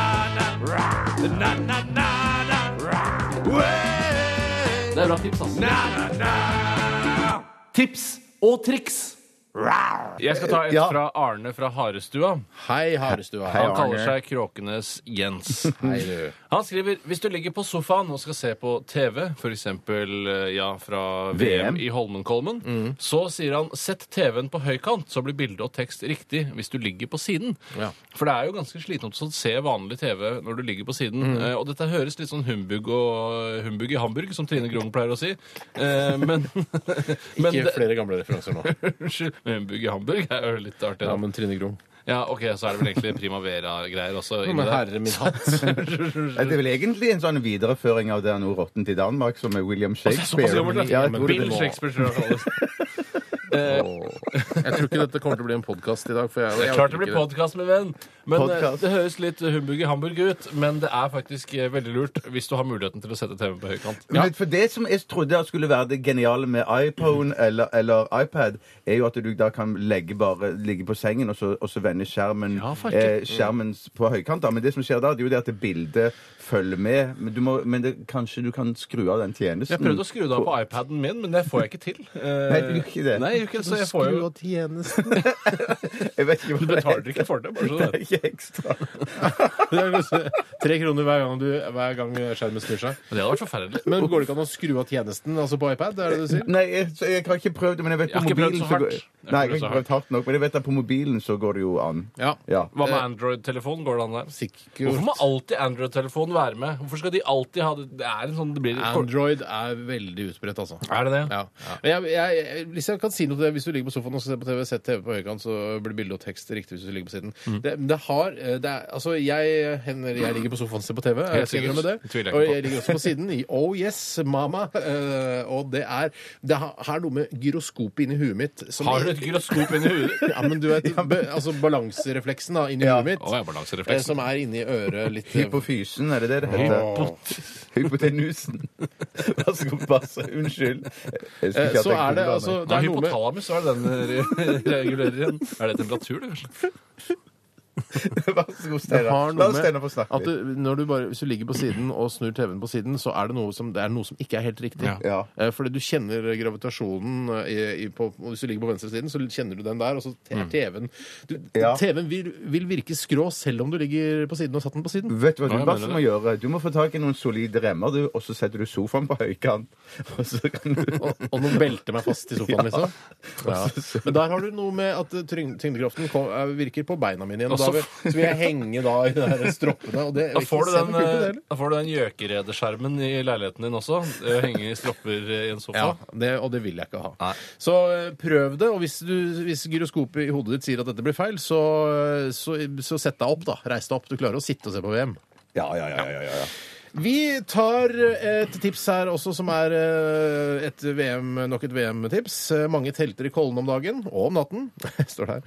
Speaker 2: Na, na, na, na. Det er bra tips, altså. Na, na, na. Tips og triks. Jeg skal ta et
Speaker 1: Ja.
Speaker 2: fra Arne fra Harestua.
Speaker 1: Hei, Harestua.
Speaker 2: Han kaller seg Kråkenes Jens.
Speaker 1: Hei, du.
Speaker 2: Han skriver hvis du ligger på sofaen og skal se på TV, f.eks. eh, Ja, fra VM,
Speaker 1: VM.
Speaker 2: i Holmenkollen,
Speaker 16: Mm.
Speaker 2: så sier han sett TV-en på høykant, så blir bilde og tekst riktig hvis du ligger på siden. For det er jo ganske slitsomt å se vanlig TV når du ligger på siden.
Speaker 1: Mm.
Speaker 2: Eh, og dette høres litt sånn humbug, og, eh, humbug i Hamburg, som Trine Grung pleier å si. Eh, men, men
Speaker 16: Ikke
Speaker 2: det-
Speaker 16: flere gamle referanser nå.
Speaker 2: Unnskyld. men Humbug i Hamburg er jo litt artig.
Speaker 16: Ja,
Speaker 2: da.
Speaker 16: men Trine Grung.
Speaker 2: Ja, ok, så er det vel egentlig primavera-greier også.
Speaker 16: Ja,
Speaker 2: inni
Speaker 16: men
Speaker 2: der.
Speaker 16: herre min hatt.
Speaker 3: Ja, Det er vel egentlig en sånn videreføring av det han gjorde råtten til Danmark, som er William Shakespeare. Ja, jeg tror det
Speaker 16: Bill
Speaker 3: var-
Speaker 16: Shakespeare, tror jeg han kalles. Jeg tror ikke dette kommer til å bli en podkast i dag. For jeg,
Speaker 2: Det
Speaker 16: jeg
Speaker 2: er klart
Speaker 16: orker
Speaker 2: det blir
Speaker 16: ikke det.
Speaker 2: podkast, min venn. Men eh,
Speaker 16: Podcast.
Speaker 2: Det høres litt humbug i Hamburg ut, men det er faktisk eh, veldig lurt hvis du har muligheten til å sette TV på høykant.
Speaker 3: Men for Det som jeg trodde skulle være det geniale med iPhone eller, eller iPad, er jo at du da kan legge bare, ligge på sengen og så, og så vende skjermen,
Speaker 2: farken.
Speaker 1: Mm.
Speaker 3: eh, skjermen på høykant. da. Men det som skjer da, det er jo det at bildet følger med. Men, du må, men det, kanskje du kan skru av den tjenesten?
Speaker 2: Jeg prøvde å skru det av på iPaden min, men det får jeg ikke til. Eh,
Speaker 3: Nei, du gjør ikke det.
Speaker 2: Nei,
Speaker 1: jeg gjør ikke det, så jeg får jo tjenesten.
Speaker 17: Du betaler ikke for det, bare så
Speaker 1: det
Speaker 17: Ikke ekstra.
Speaker 1: Tre kroner hver gang, du, hver gang skjermen snur seg. Men det hadde vært forferdelig. Men går det ikke an å skru av tjenesten altså på iPad? Er det det du sier?
Speaker 18: Nei, jeg, så jeg har ikke prøvd det, men jeg vet
Speaker 1: Jeg har
Speaker 18: på
Speaker 1: ikke prøvd
Speaker 18: mobilen
Speaker 1: så
Speaker 18: så går-
Speaker 1: hardt. Jeg
Speaker 18: Nei, jeg har
Speaker 1: har
Speaker 18: ikke
Speaker 1: prøvd så
Speaker 18: prøvd hardt nok, men jeg vet at på mobilen så går det jo an.
Speaker 1: Ja.
Speaker 18: Ja.
Speaker 2: Hva
Speaker 16: Eh.
Speaker 2: med Android-telefon? Går det an der?
Speaker 1: Sikkert.
Speaker 2: Hvorfor må alltid Android-telefonen være med? Hvorfor skal de alltid ha det? Det er en sånn det blir
Speaker 1: Android er veldig utbredt, altså.
Speaker 2: Er det det?
Speaker 1: Ja. Men jeg, jeg, jeg, hvis jeg kan si noe til det, hvis du ligger på sofaen og skal se på TV, sett TV på høykant, så blir bilde og tekst riktig hvis du ligger på siden.
Speaker 2: Mm.
Speaker 1: Det, men det har det er, Altså, jeg, Henrik, jeg ligger på sofaen og ser på TV, jeg
Speaker 2: Helt
Speaker 1: skal
Speaker 2: sikkert.
Speaker 1: innrømme det.
Speaker 2: Det tviler jeg ikke
Speaker 1: Og
Speaker 2: på.
Speaker 1: jeg ligger også på siden i Oh Yes, Mama. Eh, og det er Det har har noe med gyroskopet inni huet mitt som
Speaker 2: Har du et gyroskop inni huet?
Speaker 1: ja, men du vet, be- altså balanserefleksen da, inni huet mitt.
Speaker 2: Å, ja, balanserefleksen.
Speaker 1: eh, Som er inni øret litt
Speaker 18: Hypofysen, er det det det heter? Hypotenusen. Vær så god, Basse. Unnskyld. Jeg skulle ikke
Speaker 1: Eh,
Speaker 18: ha
Speaker 1: så
Speaker 18: tenkt
Speaker 1: er det
Speaker 18: på
Speaker 1: altså
Speaker 18: nei.
Speaker 1: det er noe med-
Speaker 2: Hypotalamus, hva er det den re- regulerer igjen? Er det temperatur, det, kanskje?
Speaker 18: Vær så god,
Speaker 1: Det
Speaker 18: Steinar.
Speaker 1: har
Speaker 18: La
Speaker 1: noe
Speaker 18: oss Steinar få
Speaker 1: med
Speaker 18: snakke
Speaker 1: at
Speaker 18: litt.
Speaker 1: du, når du bare, Hvis du ligger på siden og snur TV-en på siden, så er det noe som, det er noe som ikke er helt riktig.
Speaker 18: Ja.
Speaker 1: Eh, Fordi du kjenner gravitasjonen eh, i, i, på, og Hvis du ligger på venstre siden, så kjenner du den der, og så er
Speaker 2: Mm.
Speaker 1: TV-en du,
Speaker 18: Ja.
Speaker 1: TV-en vil, vil virke skrå selv om du ligger på siden og satt den på siden.
Speaker 18: Vet du hva
Speaker 1: Ja,
Speaker 18: du
Speaker 1: jeg
Speaker 18: bare
Speaker 1: mener
Speaker 18: må gjøre? Du må få tak i noen solide remmer, du, og så setter du sofaen på høykant. Og så kan du
Speaker 1: Og, og noen belter meg fast i sofaen,
Speaker 18: Ja.
Speaker 1: liksom. Ja. Men der har du noe med at eh, tyng- tyngdekraften kom, eh, virker på beina mine igjen. Og
Speaker 2: Og så-
Speaker 1: da vil, så vil jeg henge da i de her stroppene. Og det,
Speaker 2: Da får, du
Speaker 1: Se
Speaker 2: den,
Speaker 1: på kukken, det
Speaker 2: eh,
Speaker 1: heller.
Speaker 2: da får du den gjøkeredeskjermen i leiligheten din også. Det å Henge i stropper eh, i en sofa.
Speaker 1: Ja, det, og det vil jeg ikke ha. Så eh, prøv det, og hvis, du, hvis gyroskopet i hodet ditt sier at dette blir feil, så, eh, så, så sett deg opp, da. Reis deg opp. Du klarer å sitte og se på VM.
Speaker 18: Ja, ja, ja. ja, ja, ja.
Speaker 1: Vi tar eh, et tips her også, som er eh, et VM, nok et VM-tips. Eh, Mange telter i Kollen om dagen, og om natten, står det her.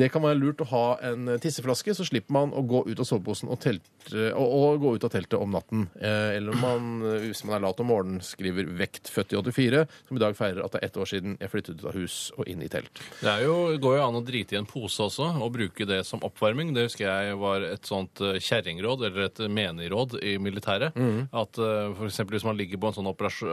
Speaker 1: Det kan være lurt å ha en tisseflaske, så slipper man å gå ut av soveposen og, telt, og, og gå ut av teltet om natten. Eh, Eller om man, eh, hvis man er lat om morgenen, skriver 'Vekt født i 84', som i dag feirer at det er ett år siden jeg flyttet ut av hus og inn i telt.
Speaker 2: Det er jo, går jo an å drite i en pose også, og bruke det som oppvarming. Det husker jeg var et sånt eh, kjerringråd, eller et menigråd i militæret.
Speaker 1: Mhm.
Speaker 2: At eh, for eksempel hvis man ligger på en sånn operasjon-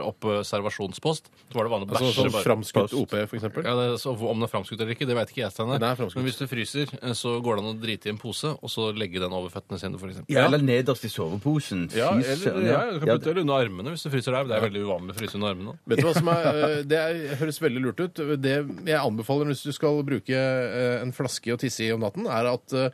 Speaker 2: observasjonspost, så var det vanlig å
Speaker 1: Altså
Speaker 2: bæsje
Speaker 1: sånn
Speaker 2: bare-
Speaker 1: framskutt OP, for eksempel.
Speaker 2: Ja, det, så Om den er framskutt eller ikke, det veit ikke jeg. Steinar.
Speaker 1: Den er framskutt.
Speaker 2: Men hvis du fryser, eh, så går det an å drite i en pose, og så legge den over føttene sine, f.eks.
Speaker 18: Eller nederst i soveposen.
Speaker 2: Ja,
Speaker 18: Fy
Speaker 2: eller,
Speaker 18: søren,
Speaker 2: ja, du kan
Speaker 18: Ja,
Speaker 2: putte det under armene hvis du fryser der. men Det er veldig uvanlig å fryse under armene.
Speaker 1: Vet du hva som er, eh, Det er, høres veldig lurt ut. Det jeg anbefaler hvis du skal bruke eh, en flaske å tisse i om natten, er at eh,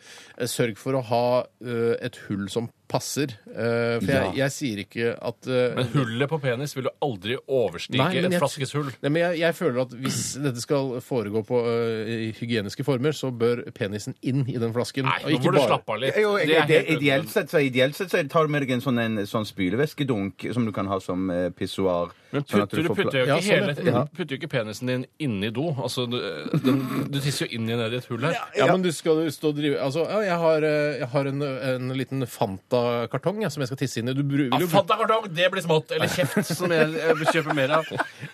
Speaker 1: sørg for å ha eh, et hull som passer. Eh, For jeg, jeg sier ikke at eh,
Speaker 2: Men hullet på penis vil jo aldri overstige
Speaker 1: Nei, men
Speaker 2: et
Speaker 1: jeg-
Speaker 2: flaskes hull.
Speaker 1: Nei, men jeg, jeg føler at hvis dette skal foregå på eh, i hygieniske former, så bør penisen inn i den flasken.
Speaker 2: Nei,
Speaker 1: og
Speaker 2: nå
Speaker 1: ikke
Speaker 2: må du
Speaker 1: bare-
Speaker 2: slappe av litt.
Speaker 18: Jo,
Speaker 2: Det
Speaker 18: jeg,
Speaker 2: er
Speaker 18: det,
Speaker 2: helt nødvendig.
Speaker 18: ideelt sett så ideelt sett så tar du med deg en sånn, en, sånn spylevæskedunk som du kan ha som eh, pissoar.
Speaker 2: Men
Speaker 18: sånn at
Speaker 2: putter, du
Speaker 18: får pla-
Speaker 2: putter, jo ikke
Speaker 18: Ja, sånn,
Speaker 2: hele,
Speaker 18: ja.
Speaker 2: du putter jo ikke penisen din inni do. Altså, du, den, du tisser jo inn i ned i et hull her.
Speaker 1: Ja, men du skal jo stå og drive Altså, ja, jeg har, eh, jeg har en, en liten Fanta-kartong jeg, som jeg skal tisse inn i. Du bru-
Speaker 2: Ja,
Speaker 1: vil jo
Speaker 2: Fantakartong, det blir smått. Eller kjeft, som jeg, jeg kjøper mer av.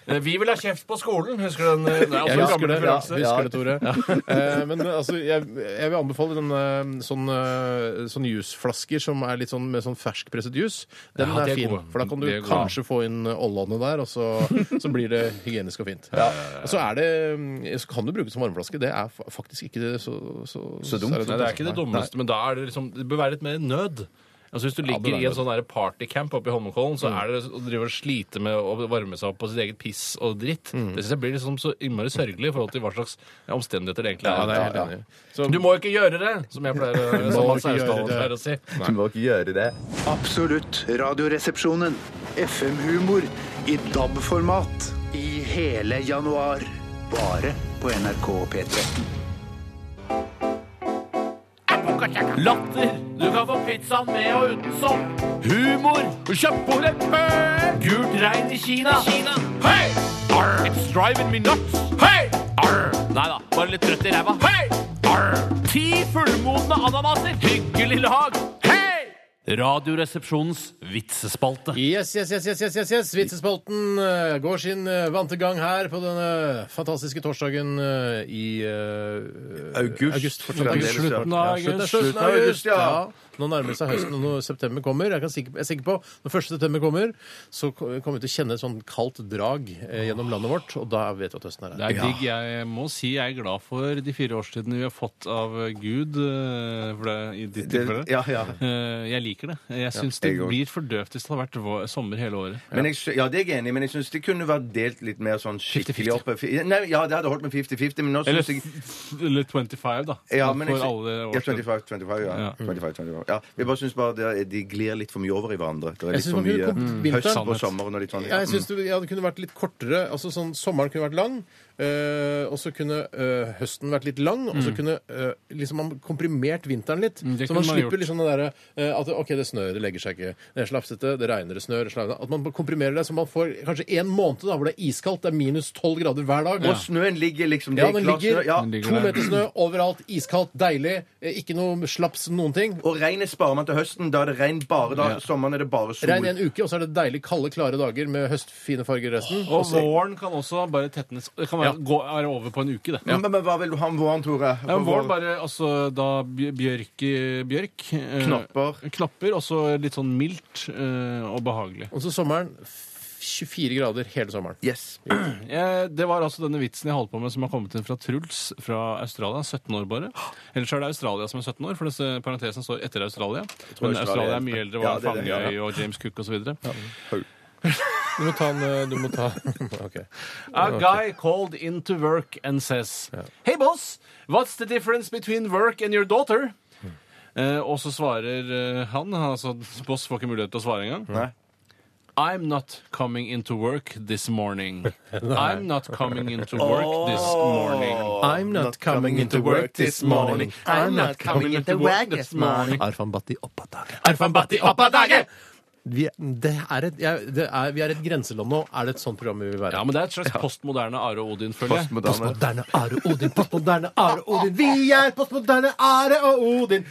Speaker 2: Eh, Vi vil ha kjeft på skolen, husker du den? eh, Det er også
Speaker 1: Jeg
Speaker 2: en
Speaker 1: husker
Speaker 2: gammel
Speaker 1: det, ja,
Speaker 2: referanse.
Speaker 1: husker det Tore. Eh, men altså, jeg, jeg vil anbefale den eh, sånn, eh, sånn jusflasker som er litt sånn med sånn ferskpresset jus. Den
Speaker 2: Ja, de
Speaker 1: er,
Speaker 2: er
Speaker 1: fin,
Speaker 2: gode.
Speaker 1: for da kan du
Speaker 2: De er gode.
Speaker 1: kanskje få inn ollene der, og så, så blir det hygienisk og fint. Og Så, er det, mm, så kan du bruke det som varmeflaske. Det er fa- faktisk ikke så Så,
Speaker 2: Så dumt. Nei, det er ikke det dummeste, men da er det liksom Det bør være litt mer nød. Altså Hvis du
Speaker 1: Ja, det
Speaker 2: ligger
Speaker 1: bør Mm.
Speaker 2: i en
Speaker 1: det.
Speaker 2: sånn der partycamp oppe i Holmenkollen, så er det å drive og slite med å varme seg opp på sitt eget piss og dritt.
Speaker 1: Mm.
Speaker 2: Det syns jeg blir liksom så innmari sørgelig i forhold til hva slags omstendigheter det egentlig
Speaker 1: Ja,
Speaker 2: er.
Speaker 1: det er jeg helt enig i. Så-
Speaker 2: Du må ikke gjøre det, som jeg pleier, å-
Speaker 1: Du må
Speaker 2: som Mats
Speaker 1: ikke gjøre
Speaker 2: Austdal
Speaker 1: det.
Speaker 2: pleier å si.
Speaker 18: Du må ikke gjøre det.
Speaker 19: Absolutt radioresepsjonen. FM-humor i DAB-format i hele januar. Bare på NRK P13.
Speaker 2: Latter. Du kan få pizzaen med og uten sopp. Humor. Kjøpt på leppe. Gult regn i Kina. Hei! Arr. It's driving me nuts. Hei! Arr. Nei da, bare litt trøtt i ræva. Hei! Arr. Ti fullmodne ananaser. Hyggelig lag. Hei! Radioresepsjonens vitsespalte.
Speaker 1: Yes, yes, yes, yes, yes, yes, yes. Vitsespalten eh, går sin eh, vante gang her på denne fantastiske torsdagen eh, i eh,
Speaker 3: August.
Speaker 1: fortsatt.
Speaker 3: Fremdeles, ja.
Speaker 1: Slutten av august.
Speaker 3: Ja, slutten av
Speaker 1: Slutten av
Speaker 3: august,
Speaker 1: august,
Speaker 3: ja.
Speaker 1: ja. Nå nærmer det seg høsten, og når september kommer, jeg, kan sikker, jeg er sikker på når første september kommer, så ko- kommer vi til å kjenne et sånn kaldt drag eh, gjennom landet vårt, og da vet vi at høsten er her.
Speaker 2: Det er digg. Jeg må si jeg er glad for de fire årstidene vi har fått av Gud. eh, For det, i ditt
Speaker 3: Det-
Speaker 2: tilfelle.
Speaker 3: ja, ja.
Speaker 2: Eh, Jeg liker det. Jeg syns
Speaker 3: jeg
Speaker 2: det
Speaker 3: også.
Speaker 2: blir for døvt hvis det hadde vært vår, sommer hele året.
Speaker 3: Men jeg, sy- ja, det er jeg enig i, men jeg syns det kunne vært delt litt mer sånn skikkelig opp. Nei, ja, det hadde holdt med 50-50, men nå
Speaker 2: Eller,
Speaker 3: syns jeg
Speaker 2: f- eller 25, da.
Speaker 3: ja, men jeg,
Speaker 2: for alle
Speaker 3: ja,
Speaker 2: årstidene.
Speaker 3: 25, 25, ja.
Speaker 2: Ja.
Speaker 3: 25, 25. ja. Jeg bare syns bare det er- de glir litt for mye over i hverandre. Det er
Speaker 1: Jeg
Speaker 3: litt
Speaker 1: synes
Speaker 3: for
Speaker 1: man kunne
Speaker 3: mye
Speaker 1: kommet vinteren.
Speaker 3: høst og sommer og litt sånn.
Speaker 1: Jeg syns det, ja, det kunne vært litt kortere. altså sånn Sommeren kunne vært lang, øh, og så kunne øh, høsten vært litt lang. Og så
Speaker 2: Mm.
Speaker 1: kunne øh, liksom man komprimert vinteren litt.
Speaker 2: Mm, det
Speaker 1: så
Speaker 2: kunne
Speaker 1: man
Speaker 2: man
Speaker 1: slipper
Speaker 2: gjort.
Speaker 1: liksom det derre øh, at OK, det snør, det legger seg ikke. Det er slafsete, det regner, det snør. Det slafser. At man komprimerer det så man får kanskje én måned da, hvor det er iskaldt. Det er minus tolv grader hver dag.
Speaker 3: Og snøen ligger liksom det
Speaker 1: Ja,
Speaker 3: er
Speaker 1: den
Speaker 3: klart
Speaker 1: ligger.
Speaker 3: snø, ja.
Speaker 1: To meter snø overalt. Iskaldt, deilig. eh, Ikke noe slaps noen ting.
Speaker 3: Og regnet sparer man til høsten. Da er det regn bare da.
Speaker 1: Ja.
Speaker 3: Sommeren er det bare sol.
Speaker 1: Regn i en uke, og så er det deilig kalde, klare dager med høstfine farger resten.
Speaker 2: Og
Speaker 1: så-
Speaker 2: våren kan også bare tetnes Det kan være, gå, være over på en uke, det.
Speaker 3: Men, men hva vil du ha med våren, Tore?
Speaker 2: Ja, våren bare, altså da bj- bjørk, i- bjørk eh,
Speaker 3: Knapper.
Speaker 2: Knapper, og så litt sånn mildt eh, og behagelig.
Speaker 1: Og så sommeren. 24 grader hele sommeren.
Speaker 3: Yes.
Speaker 2: Eh, Det var altså denne vitsen jeg holdt på med som har kommet inn fra Truls fra Australia. 17 år bare. Ellers er det Australia som er 17 år, for disse parentesen står etter Australia.
Speaker 1: tror
Speaker 2: Men
Speaker 1: Australia
Speaker 2: Australia
Speaker 1: er-
Speaker 2: er mye eldre,
Speaker 1: Ja,
Speaker 2: var
Speaker 1: det er det,
Speaker 2: Fangøy
Speaker 1: ja.
Speaker 2: og James Cook osv.
Speaker 1: Du må ta en eh, Du må ta OK.
Speaker 2: A guy called into work and says Hey boss, what's the difference between work and your daughter? Eh, og så svarer eh, han, altså boss får ikke mulighet til å svare engang. I'm not coming into work this morning. I'm not coming into work this morning.
Speaker 1: I'm not coming into work this morning. I'm not coming into work this morning. Arfan Bhatti opp av dagen. Arfan Bhatti opp av dagen! Vi, det er et, jeg, det er, vi er et grenseland nå. Er det et sånt program vi vil være?
Speaker 2: Ja, men det er et slags postmoderne Are Odin, følger jeg.
Speaker 1: Postmoderne Are Odin, postmoderne Are Odin. Vi er postmoderne Are og Odin.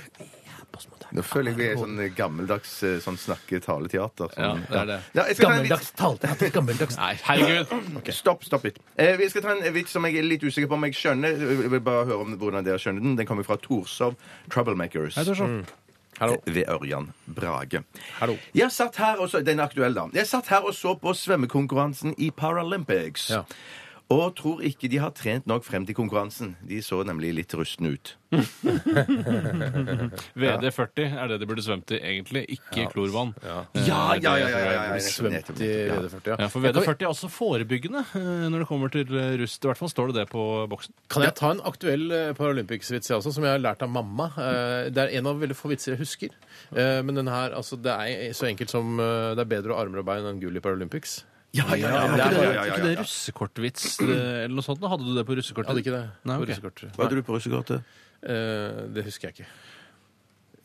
Speaker 3: Nå føler jeg vi er i sånn eh, gammeldags eh, sånn snakketaleteater. Sånn,
Speaker 2: Ja, det er det.
Speaker 3: jeg skal ta en
Speaker 1: Gammeldags taleteater. Gammeldags
Speaker 2: Nei, herregud.
Speaker 3: Ok, Stopp, stopp litt. Eh, vi skal ta en vits som jeg er litt usikker på om jeg skjønner. Jeg vil bare høre om hvordan dere skjønner Den Den kommer fra Torshov Troublemakers.
Speaker 2: Hei, Torshov. Mm.
Speaker 3: Ved Ørjan Brage.
Speaker 1: Hallo.
Speaker 3: Jeg satt her og så, Den er aktuell, da. Jeg satt her og så på svømmekonkurransen i Paralympics. Og tror ikke de har trent nok frem til konkurransen. De så nemlig litt rustne ut.
Speaker 2: VD40 er det de burde svømt i, egentlig. Ikke klorvann. Eh,
Speaker 3: Ja, ja, ja, ja, ja, ja, ja.
Speaker 2: det er
Speaker 3: Svømt i VD40, ja.
Speaker 2: ja. For VD40 er også forebyggende eh, når det kommer til eh, rust. I hvert fall står det det på boksen.
Speaker 1: Kan jeg ta en aktuell eh, Paralympics-vits jeg også, som jeg har lært av mamma? Eh, Det er en av veldig få vitser jeg husker. Eh, Men den her, altså, det er så enkelt som eh, det er bedre å ha armer og bein enn gull i Paralympics.
Speaker 3: Ja, ja, ja,
Speaker 2: Er
Speaker 3: ja, ja,
Speaker 2: ikke
Speaker 3: ja,
Speaker 2: det,
Speaker 3: ja, ja,
Speaker 2: ikke
Speaker 3: ja.
Speaker 2: det russekortvits eh, eller noe sånt? da? Hadde du det på russekortet?
Speaker 1: Jeg hadde ikke det.
Speaker 2: Nei,
Speaker 1: på
Speaker 2: ok.
Speaker 1: russekortet.
Speaker 3: Hva hadde du på russekortet?
Speaker 1: Eh, Det husker jeg ikke.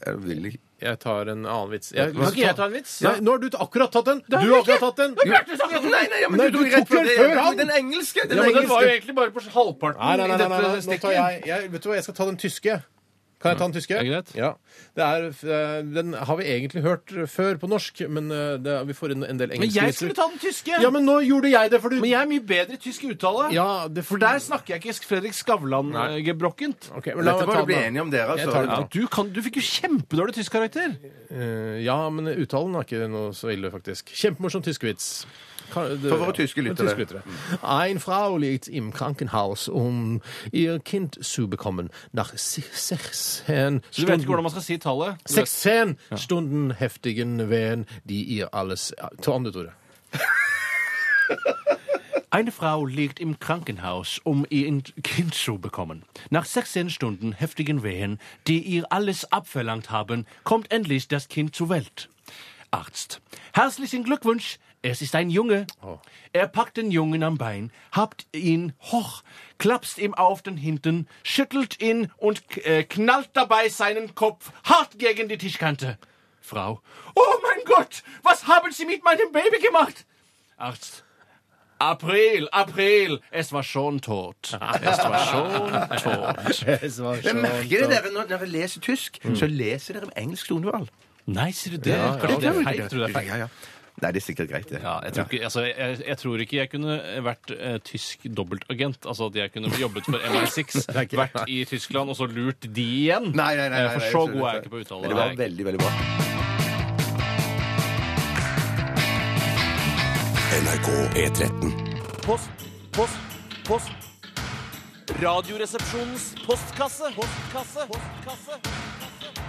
Speaker 3: Jeg vil ikke
Speaker 1: Jeg tar en annen vits. Jeg,
Speaker 3: Hva-
Speaker 1: Kan ikke jeg ta en vits?
Speaker 3: Ja.
Speaker 1: Nei, nå har du t- akkurat tatt den! Du
Speaker 3: har
Speaker 1: har
Speaker 3: jeg ikke!
Speaker 1: akkurat tatt den!
Speaker 3: Det er Bjarte som har tatt den! Nei, nei, ja, men
Speaker 1: Nei,
Speaker 3: du
Speaker 1: du
Speaker 3: tok rett
Speaker 1: tok
Speaker 3: fra
Speaker 1: den
Speaker 3: det.
Speaker 1: før han!
Speaker 3: Den engelske, den
Speaker 2: Ja, men den
Speaker 3: engelske.
Speaker 2: var jo egentlig bare på halvparten
Speaker 1: Nei, nei, nei, nei, nei,
Speaker 2: i
Speaker 1: nei.
Speaker 2: dette
Speaker 1: Nå tar jeg, jeg Vet du hva, jeg skal ta den tyske. Kan jeg ta den tyske?
Speaker 2: Er det greit?
Speaker 1: Ja. Det er, eh, den har vi egentlig hørt før på norsk, men eh, det, vi får inn en del
Speaker 2: Men
Speaker 1: engelske
Speaker 2: jeg skulle ta den tyske!
Speaker 1: Ja, men nå gjorde jeg det, for du
Speaker 2: Men jeg er mye bedre i tysk uttale.
Speaker 1: Ja, det-
Speaker 2: For der snakker jeg ikke Fredrik eh, Skavlan-gebrokkent.
Speaker 1: men la Dette meg må ta du den bli da. enig om dere, Jeg altså. tar den da.
Speaker 2: Du, kan, du fikk jo kjempedårlig tyskkarakter.
Speaker 1: Eh, Ja, men uttalen er ikke noe så ille, faktisk. Kjempemorsom tyskevits. Kan- det-
Speaker 3: For våre tyske
Speaker 1: ja,
Speaker 3: lyttere.
Speaker 1: tyske Ein Frau liegt im Krankenhaus, um ihr Kind zu bekommen. Nach si- 16
Speaker 2: Så du vet ikke hvordan man skal si tallet. Du vet-
Speaker 1: 16 Stunden heftigen Wehen, die ihr alles ja, Ta andre, Tore.
Speaker 2: Eine Frau liegt im Krankenhaus, um ihr Kind zu bekommen. Nach 16 Stunden heftigen Wehen, die ihr alles abverlangt haben, kommt endlich das Kind zur Welt. Arzt. Herzlichen Glückwunsch. Es ist ein Junge. Er packt den Jungen am Bein, habt ihn hoch, klapst ihm auf den Hinten, schüttelt ihn und k- äh, knallt dabei seinen Kopf hart gegen die Tischkante. Frau. Oh mein Gott, was haben Sie mit meinem Baby gemacht? Arzt. April, April! Es war schon tot. Es war schon tot.
Speaker 1: Det var
Speaker 3: Ehm, Mm. Jeg merker det dere når dere leser tysk, så leser dere med engelsk tonefall.
Speaker 2: Nei, sier du det?
Speaker 3: Ja, ja,
Speaker 2: Kanskje
Speaker 3: det
Speaker 2: det
Speaker 3: er
Speaker 2: er
Speaker 3: vel
Speaker 2: feil?
Speaker 3: det.
Speaker 2: Tror du det er feil?
Speaker 3: Ja, ja. Nei, det er sikkert greit, det.
Speaker 2: Ja, jeg, tror ikke, altså, jeg, jeg tror ikke jeg kunne vært eh, tysk dobbeltagent. Altså at jeg kunne jobbet for MI6,
Speaker 3: Det er ikke-
Speaker 2: vært i Tyskland og så lurt de igjen.
Speaker 3: Nei, nei, nei,
Speaker 2: Eh,
Speaker 3: nei,
Speaker 2: for
Speaker 3: nei,
Speaker 2: så
Speaker 3: jeg skjønner
Speaker 2: god er jeg
Speaker 3: det.
Speaker 2: ikke på å uttale.
Speaker 3: Men det var
Speaker 20: veldig, veldig bra.
Speaker 7: NRK P13.
Speaker 21: Post, post, post. Radioresepsjonens postkasse. Postkasse. Postkasse.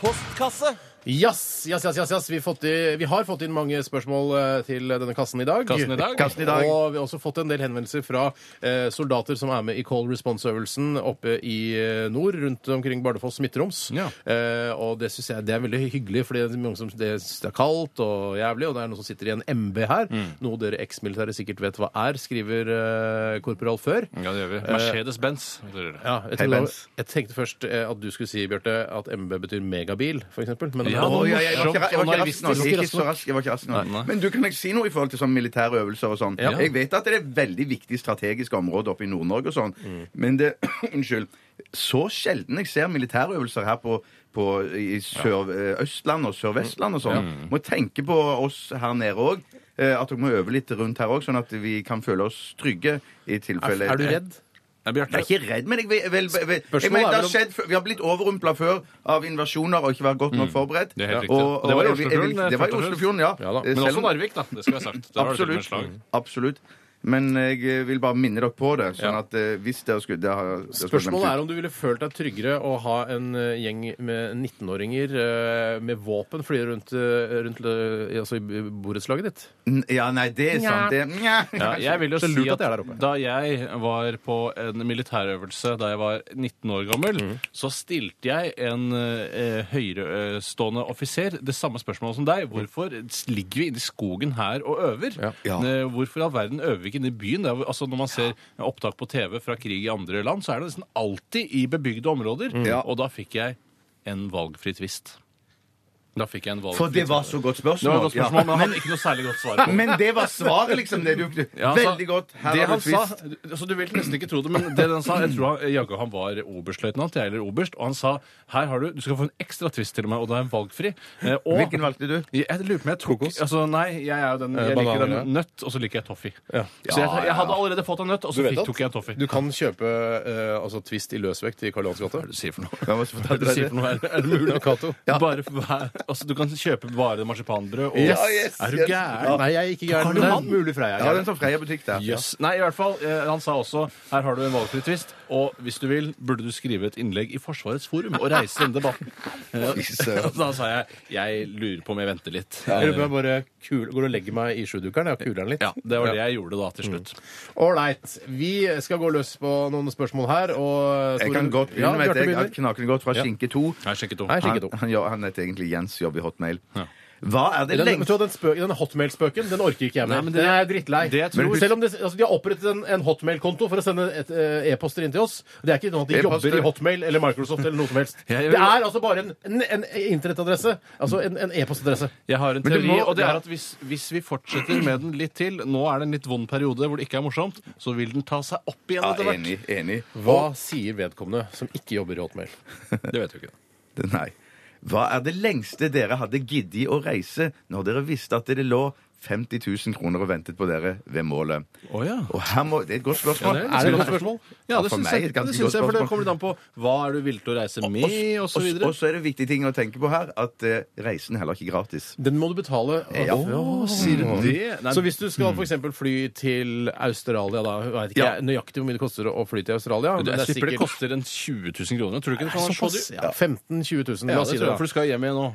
Speaker 21: Postkasse.
Speaker 1: Jass, jass, jass, jass, jass. Vi, fått i, vi har fått inn mange spørsmål eh, til denne kassen i dag.
Speaker 2: Kassen i dag. Kassen i dag.
Speaker 1: Og vi har også fått en del henvendelser fra eh, soldater som er med i Call Response-øvelsen oppe i eh, nord, rundt omkring Bardufoss, Midtroms. Eh, og det syns jeg det er veldig hyggelig, fordi det er mange som det er kaldt og jævlig, og det er noen som sitter i en MB her,
Speaker 2: Mm.
Speaker 1: noe dere eksmilitære sikkert vet hva er, skriver eh, korporal før.
Speaker 2: Ja, det gjør vi.
Speaker 1: Eh,
Speaker 2: Mercedes-Benz.
Speaker 1: Ja, jeg, trodde, jeg tenkte først eh, at du skulle si, Bjarte, at MB betyr megabil, for eksempel. Men
Speaker 3: Ja, å, ja, jeg var ikke ra- jeg var ikke rask nok. Jeg gikk ikke så rask- jeg var ikke rask nok. Men du kan jeg si noe i forhold til sånn militære øvelser og sånn.
Speaker 1: Ja.
Speaker 3: Jeg vet at det er et veldig viktig strategisk område oppe i Nord-Norge og sånn, men det Unnskyld. Så sjelden jeg ser militærøvelser her på, på i Sør, eh, Østland og Sør-Vestland og sånn.
Speaker 1: Ja.
Speaker 3: Må tenke på oss her nede òg. At dere må øve litt rundt her òg, sånn at vi kan føle oss trygge i tilfelle
Speaker 1: Er- er du redd?
Speaker 3: Jeg er ikke redd, men jeg, vil- vil- vil-
Speaker 1: Spørsmålet
Speaker 3: jeg mener, det
Speaker 1: er vel
Speaker 3: har
Speaker 1: om-
Speaker 3: skjedd, før- Vi har blitt overrumpla før av invasjoner og ikke vært godt nok
Speaker 1: Mm.
Speaker 3: forberedt.
Speaker 1: Det er helt
Speaker 3: Og,
Speaker 1: riktig.
Speaker 3: og,
Speaker 1: Det var i
Speaker 3: jeg vil- jeg vil-
Speaker 1: Oslofjorden,
Speaker 3: Det var i
Speaker 1: først og fremst.
Speaker 3: Oslofjorden, ja. Eh,
Speaker 1: Ja da. Men
Speaker 3: Selv
Speaker 1: også
Speaker 3: om-
Speaker 1: Narvik, da. Det skal være sagt. Der var det til og med
Speaker 3: Absolutt.
Speaker 1: slag.
Speaker 3: Absolutt. Men jeg eh, vil bare minne dere på det, sånn at eh, hvis dere skulle det har- det skulle
Speaker 1: Spørsmålet
Speaker 3: glemt
Speaker 1: er
Speaker 3: ut.
Speaker 1: om du ville følt deg tryggere å ha en eh, gjeng med 19-åringer eh, med våpen fly rundt, eh, rundt eh, altså i b- borettslaget ditt.
Speaker 3: N- Ja, nei, det er sant. Det, nja.
Speaker 2: Ja, jeg vil jo
Speaker 1: Så
Speaker 2: si
Speaker 1: lurt
Speaker 2: at
Speaker 1: at jeg er der oppe.
Speaker 2: da jeg var på en militærøvelse da jeg var 19 år gammel,
Speaker 1: Mm.
Speaker 2: så stilte jeg en eh, høyrestående offiser det samme spørsmålet som deg. Hvorfor ligger vi inne i skogen her og øver? Eh, Hvorfor i all verden øver vi ikke inne i byen? Det er, jo- altså, når man ser opptak på TV fra krig i andre land, så er det nesten alltid i bebygde områder.
Speaker 3: Mm. Ja.
Speaker 2: Og da fikk jeg en valgfri tvist. Da fikk jeg en valgfri
Speaker 3: For det var så godt spørsmål.
Speaker 2: Det var et godt spørsmål,
Speaker 3: Ja.
Speaker 2: men jeg hadde ikke noe særlig godt svar på.
Speaker 3: Men det var svaret, liksom. Det du,
Speaker 2: Ja, altså,
Speaker 3: veldig godt. Her
Speaker 2: det
Speaker 3: har
Speaker 2: han
Speaker 3: du twist.
Speaker 2: sa, altså, Du vil nesten ikke tro det, men det han sa Jeg tror han, jaggu han var oberstløytnant, jeg eller oberst, og han sa her har du Du skal få en ekstra twist til meg, og det er en valgfri. Eh, og,
Speaker 3: Hvilken valgte du?
Speaker 2: Jeg, jeg lurer på om jeg tok Altså, nei, jeg, er jo den,
Speaker 1: Eh,
Speaker 2: jeg liker
Speaker 1: banan,
Speaker 2: den nøtt, og så liker jeg toffee.
Speaker 1: Ja.
Speaker 2: Så jeg, jeg hadde allerede fått en nøtt, og så
Speaker 1: Du vet
Speaker 2: fikk,
Speaker 1: at
Speaker 2: tok jeg en toffee.
Speaker 1: Du kan kjøpe eh, altså, Twist i løsvekt i Karl Johans gate. Hva
Speaker 2: er det du sier for noe?
Speaker 3: Hva er
Speaker 2: det du sier for noe? Er, er det mulig?
Speaker 1: Cato.
Speaker 2: Bare for, hver- altså, du kan kjøpe bare marsipanbrød og
Speaker 1: Yes, yes,
Speaker 2: Er du
Speaker 1: yes.
Speaker 2: gæren?
Speaker 1: Ja. Nei, jeg er ikke gæren,
Speaker 2: Karl
Speaker 1: men
Speaker 2: Johan?
Speaker 1: mulig Freia er
Speaker 3: Ja,
Speaker 1: gæren.
Speaker 3: den som Freia butikk der.
Speaker 2: Jøss. Nei, i hvert fall, eh, han sa også her har du en valgfri tvist, og hvis du vil, burde du skrive et innlegg i Forsvarets forum og reise denne debatten. Eh,
Speaker 1: søren.
Speaker 2: da sa jeg jeg lurer på om jeg venter litt.
Speaker 1: Jeg lurer på om
Speaker 2: Eh,
Speaker 1: jeg bare kul, går og legger meg i sjudukeren. Jeg kuler den litt.
Speaker 2: Ja, det var det jeg gjorde da til
Speaker 1: Mm.
Speaker 2: slutt.
Speaker 1: Ålreit. Vi skal gå løs på noen spørsmål her. Og
Speaker 3: Jeg kan godt begynne
Speaker 1: Ja,
Speaker 3: med
Speaker 1: Bjarte
Speaker 3: et jeg
Speaker 1: begynner.
Speaker 3: har knakende godt fra
Speaker 1: Ja.
Speaker 3: Skinke 2.
Speaker 2: Hei, Skinke 2.
Speaker 1: Hei, Skinke 2.
Speaker 3: Han, han, gjør- han heter egentlig Jens, jobber i Hotmail. Hva er det
Speaker 1: Den, vet du
Speaker 3: lengste
Speaker 1: hva, den, spø- den hotmail-spøken den orker ikke jeg med.
Speaker 3: Nei, men det-
Speaker 1: den er jeg drittlei.
Speaker 3: det jeg tror-
Speaker 1: Men husk- Selv om det, altså, De har opprettet en, en hotmail-konto for å sende et, eh, e-poster inn til oss. Det er ikke sånn at de
Speaker 3: E-poster.
Speaker 1: jobber i Hotmail eller Microsoft eller noe som helst.
Speaker 2: Jeg-
Speaker 1: Det er altså bare en, en, en internettadresse. Altså en, en e-postadresse.
Speaker 2: Jeg har en
Speaker 1: Men du
Speaker 2: teori,
Speaker 1: må-
Speaker 2: og det
Speaker 1: ja.
Speaker 2: er at hvis, hvis vi fortsetter med den litt til, nå er det en litt vond periode hvor det ikke er morsomt, så vil den ta seg opp igjen
Speaker 3: Ja,
Speaker 2: etter hvert.
Speaker 3: enig, enig.
Speaker 1: Hva sier vedkommende som ikke jobber i Hotmail?
Speaker 2: Det vet du ikke.
Speaker 3: Det- Nei. Hva er det lengste dere hadde giddet å reise når dere visste at det lå 50 000 kroner og ventet på dere ved målet?
Speaker 2: Å ja.
Speaker 3: Og her må, det er et godt spørsmål.
Speaker 2: Ja, det er et godt spørsmål. Ja, det
Speaker 3: for
Speaker 2: syns
Speaker 3: meg
Speaker 2: jeg.
Speaker 3: er et ganske
Speaker 2: Det syns
Speaker 3: godt
Speaker 2: jeg, for det
Speaker 3: spørsmål.
Speaker 2: kommer litt an på hva er du villig til å reise med, og så videre.
Speaker 3: Og så er det viktige ting å tenke på her, at eh, reisen er heller ikke gratis.
Speaker 1: Den må du betale.
Speaker 3: Ja.
Speaker 1: Å,
Speaker 2: sier du det? Nei. hmm.
Speaker 1: Så hvis du skal for eksempel fly til Australia, da jeg vet ikke
Speaker 2: Ja.
Speaker 1: jeg nøyaktig hvor mye det koster å fly til Australia
Speaker 2: Men det, jeg
Speaker 1: men det er
Speaker 2: slipper det
Speaker 1: sikkert-
Speaker 2: koster en 20 000 kroner. Tror du ikke det kan være så
Speaker 1: Såpass,
Speaker 2: dyrt?
Speaker 1: ja. 15 000-20 000.
Speaker 2: Ja, det
Speaker 1: La oss si
Speaker 2: tror
Speaker 1: det.
Speaker 2: jeg, for du skal hjem igjen nå.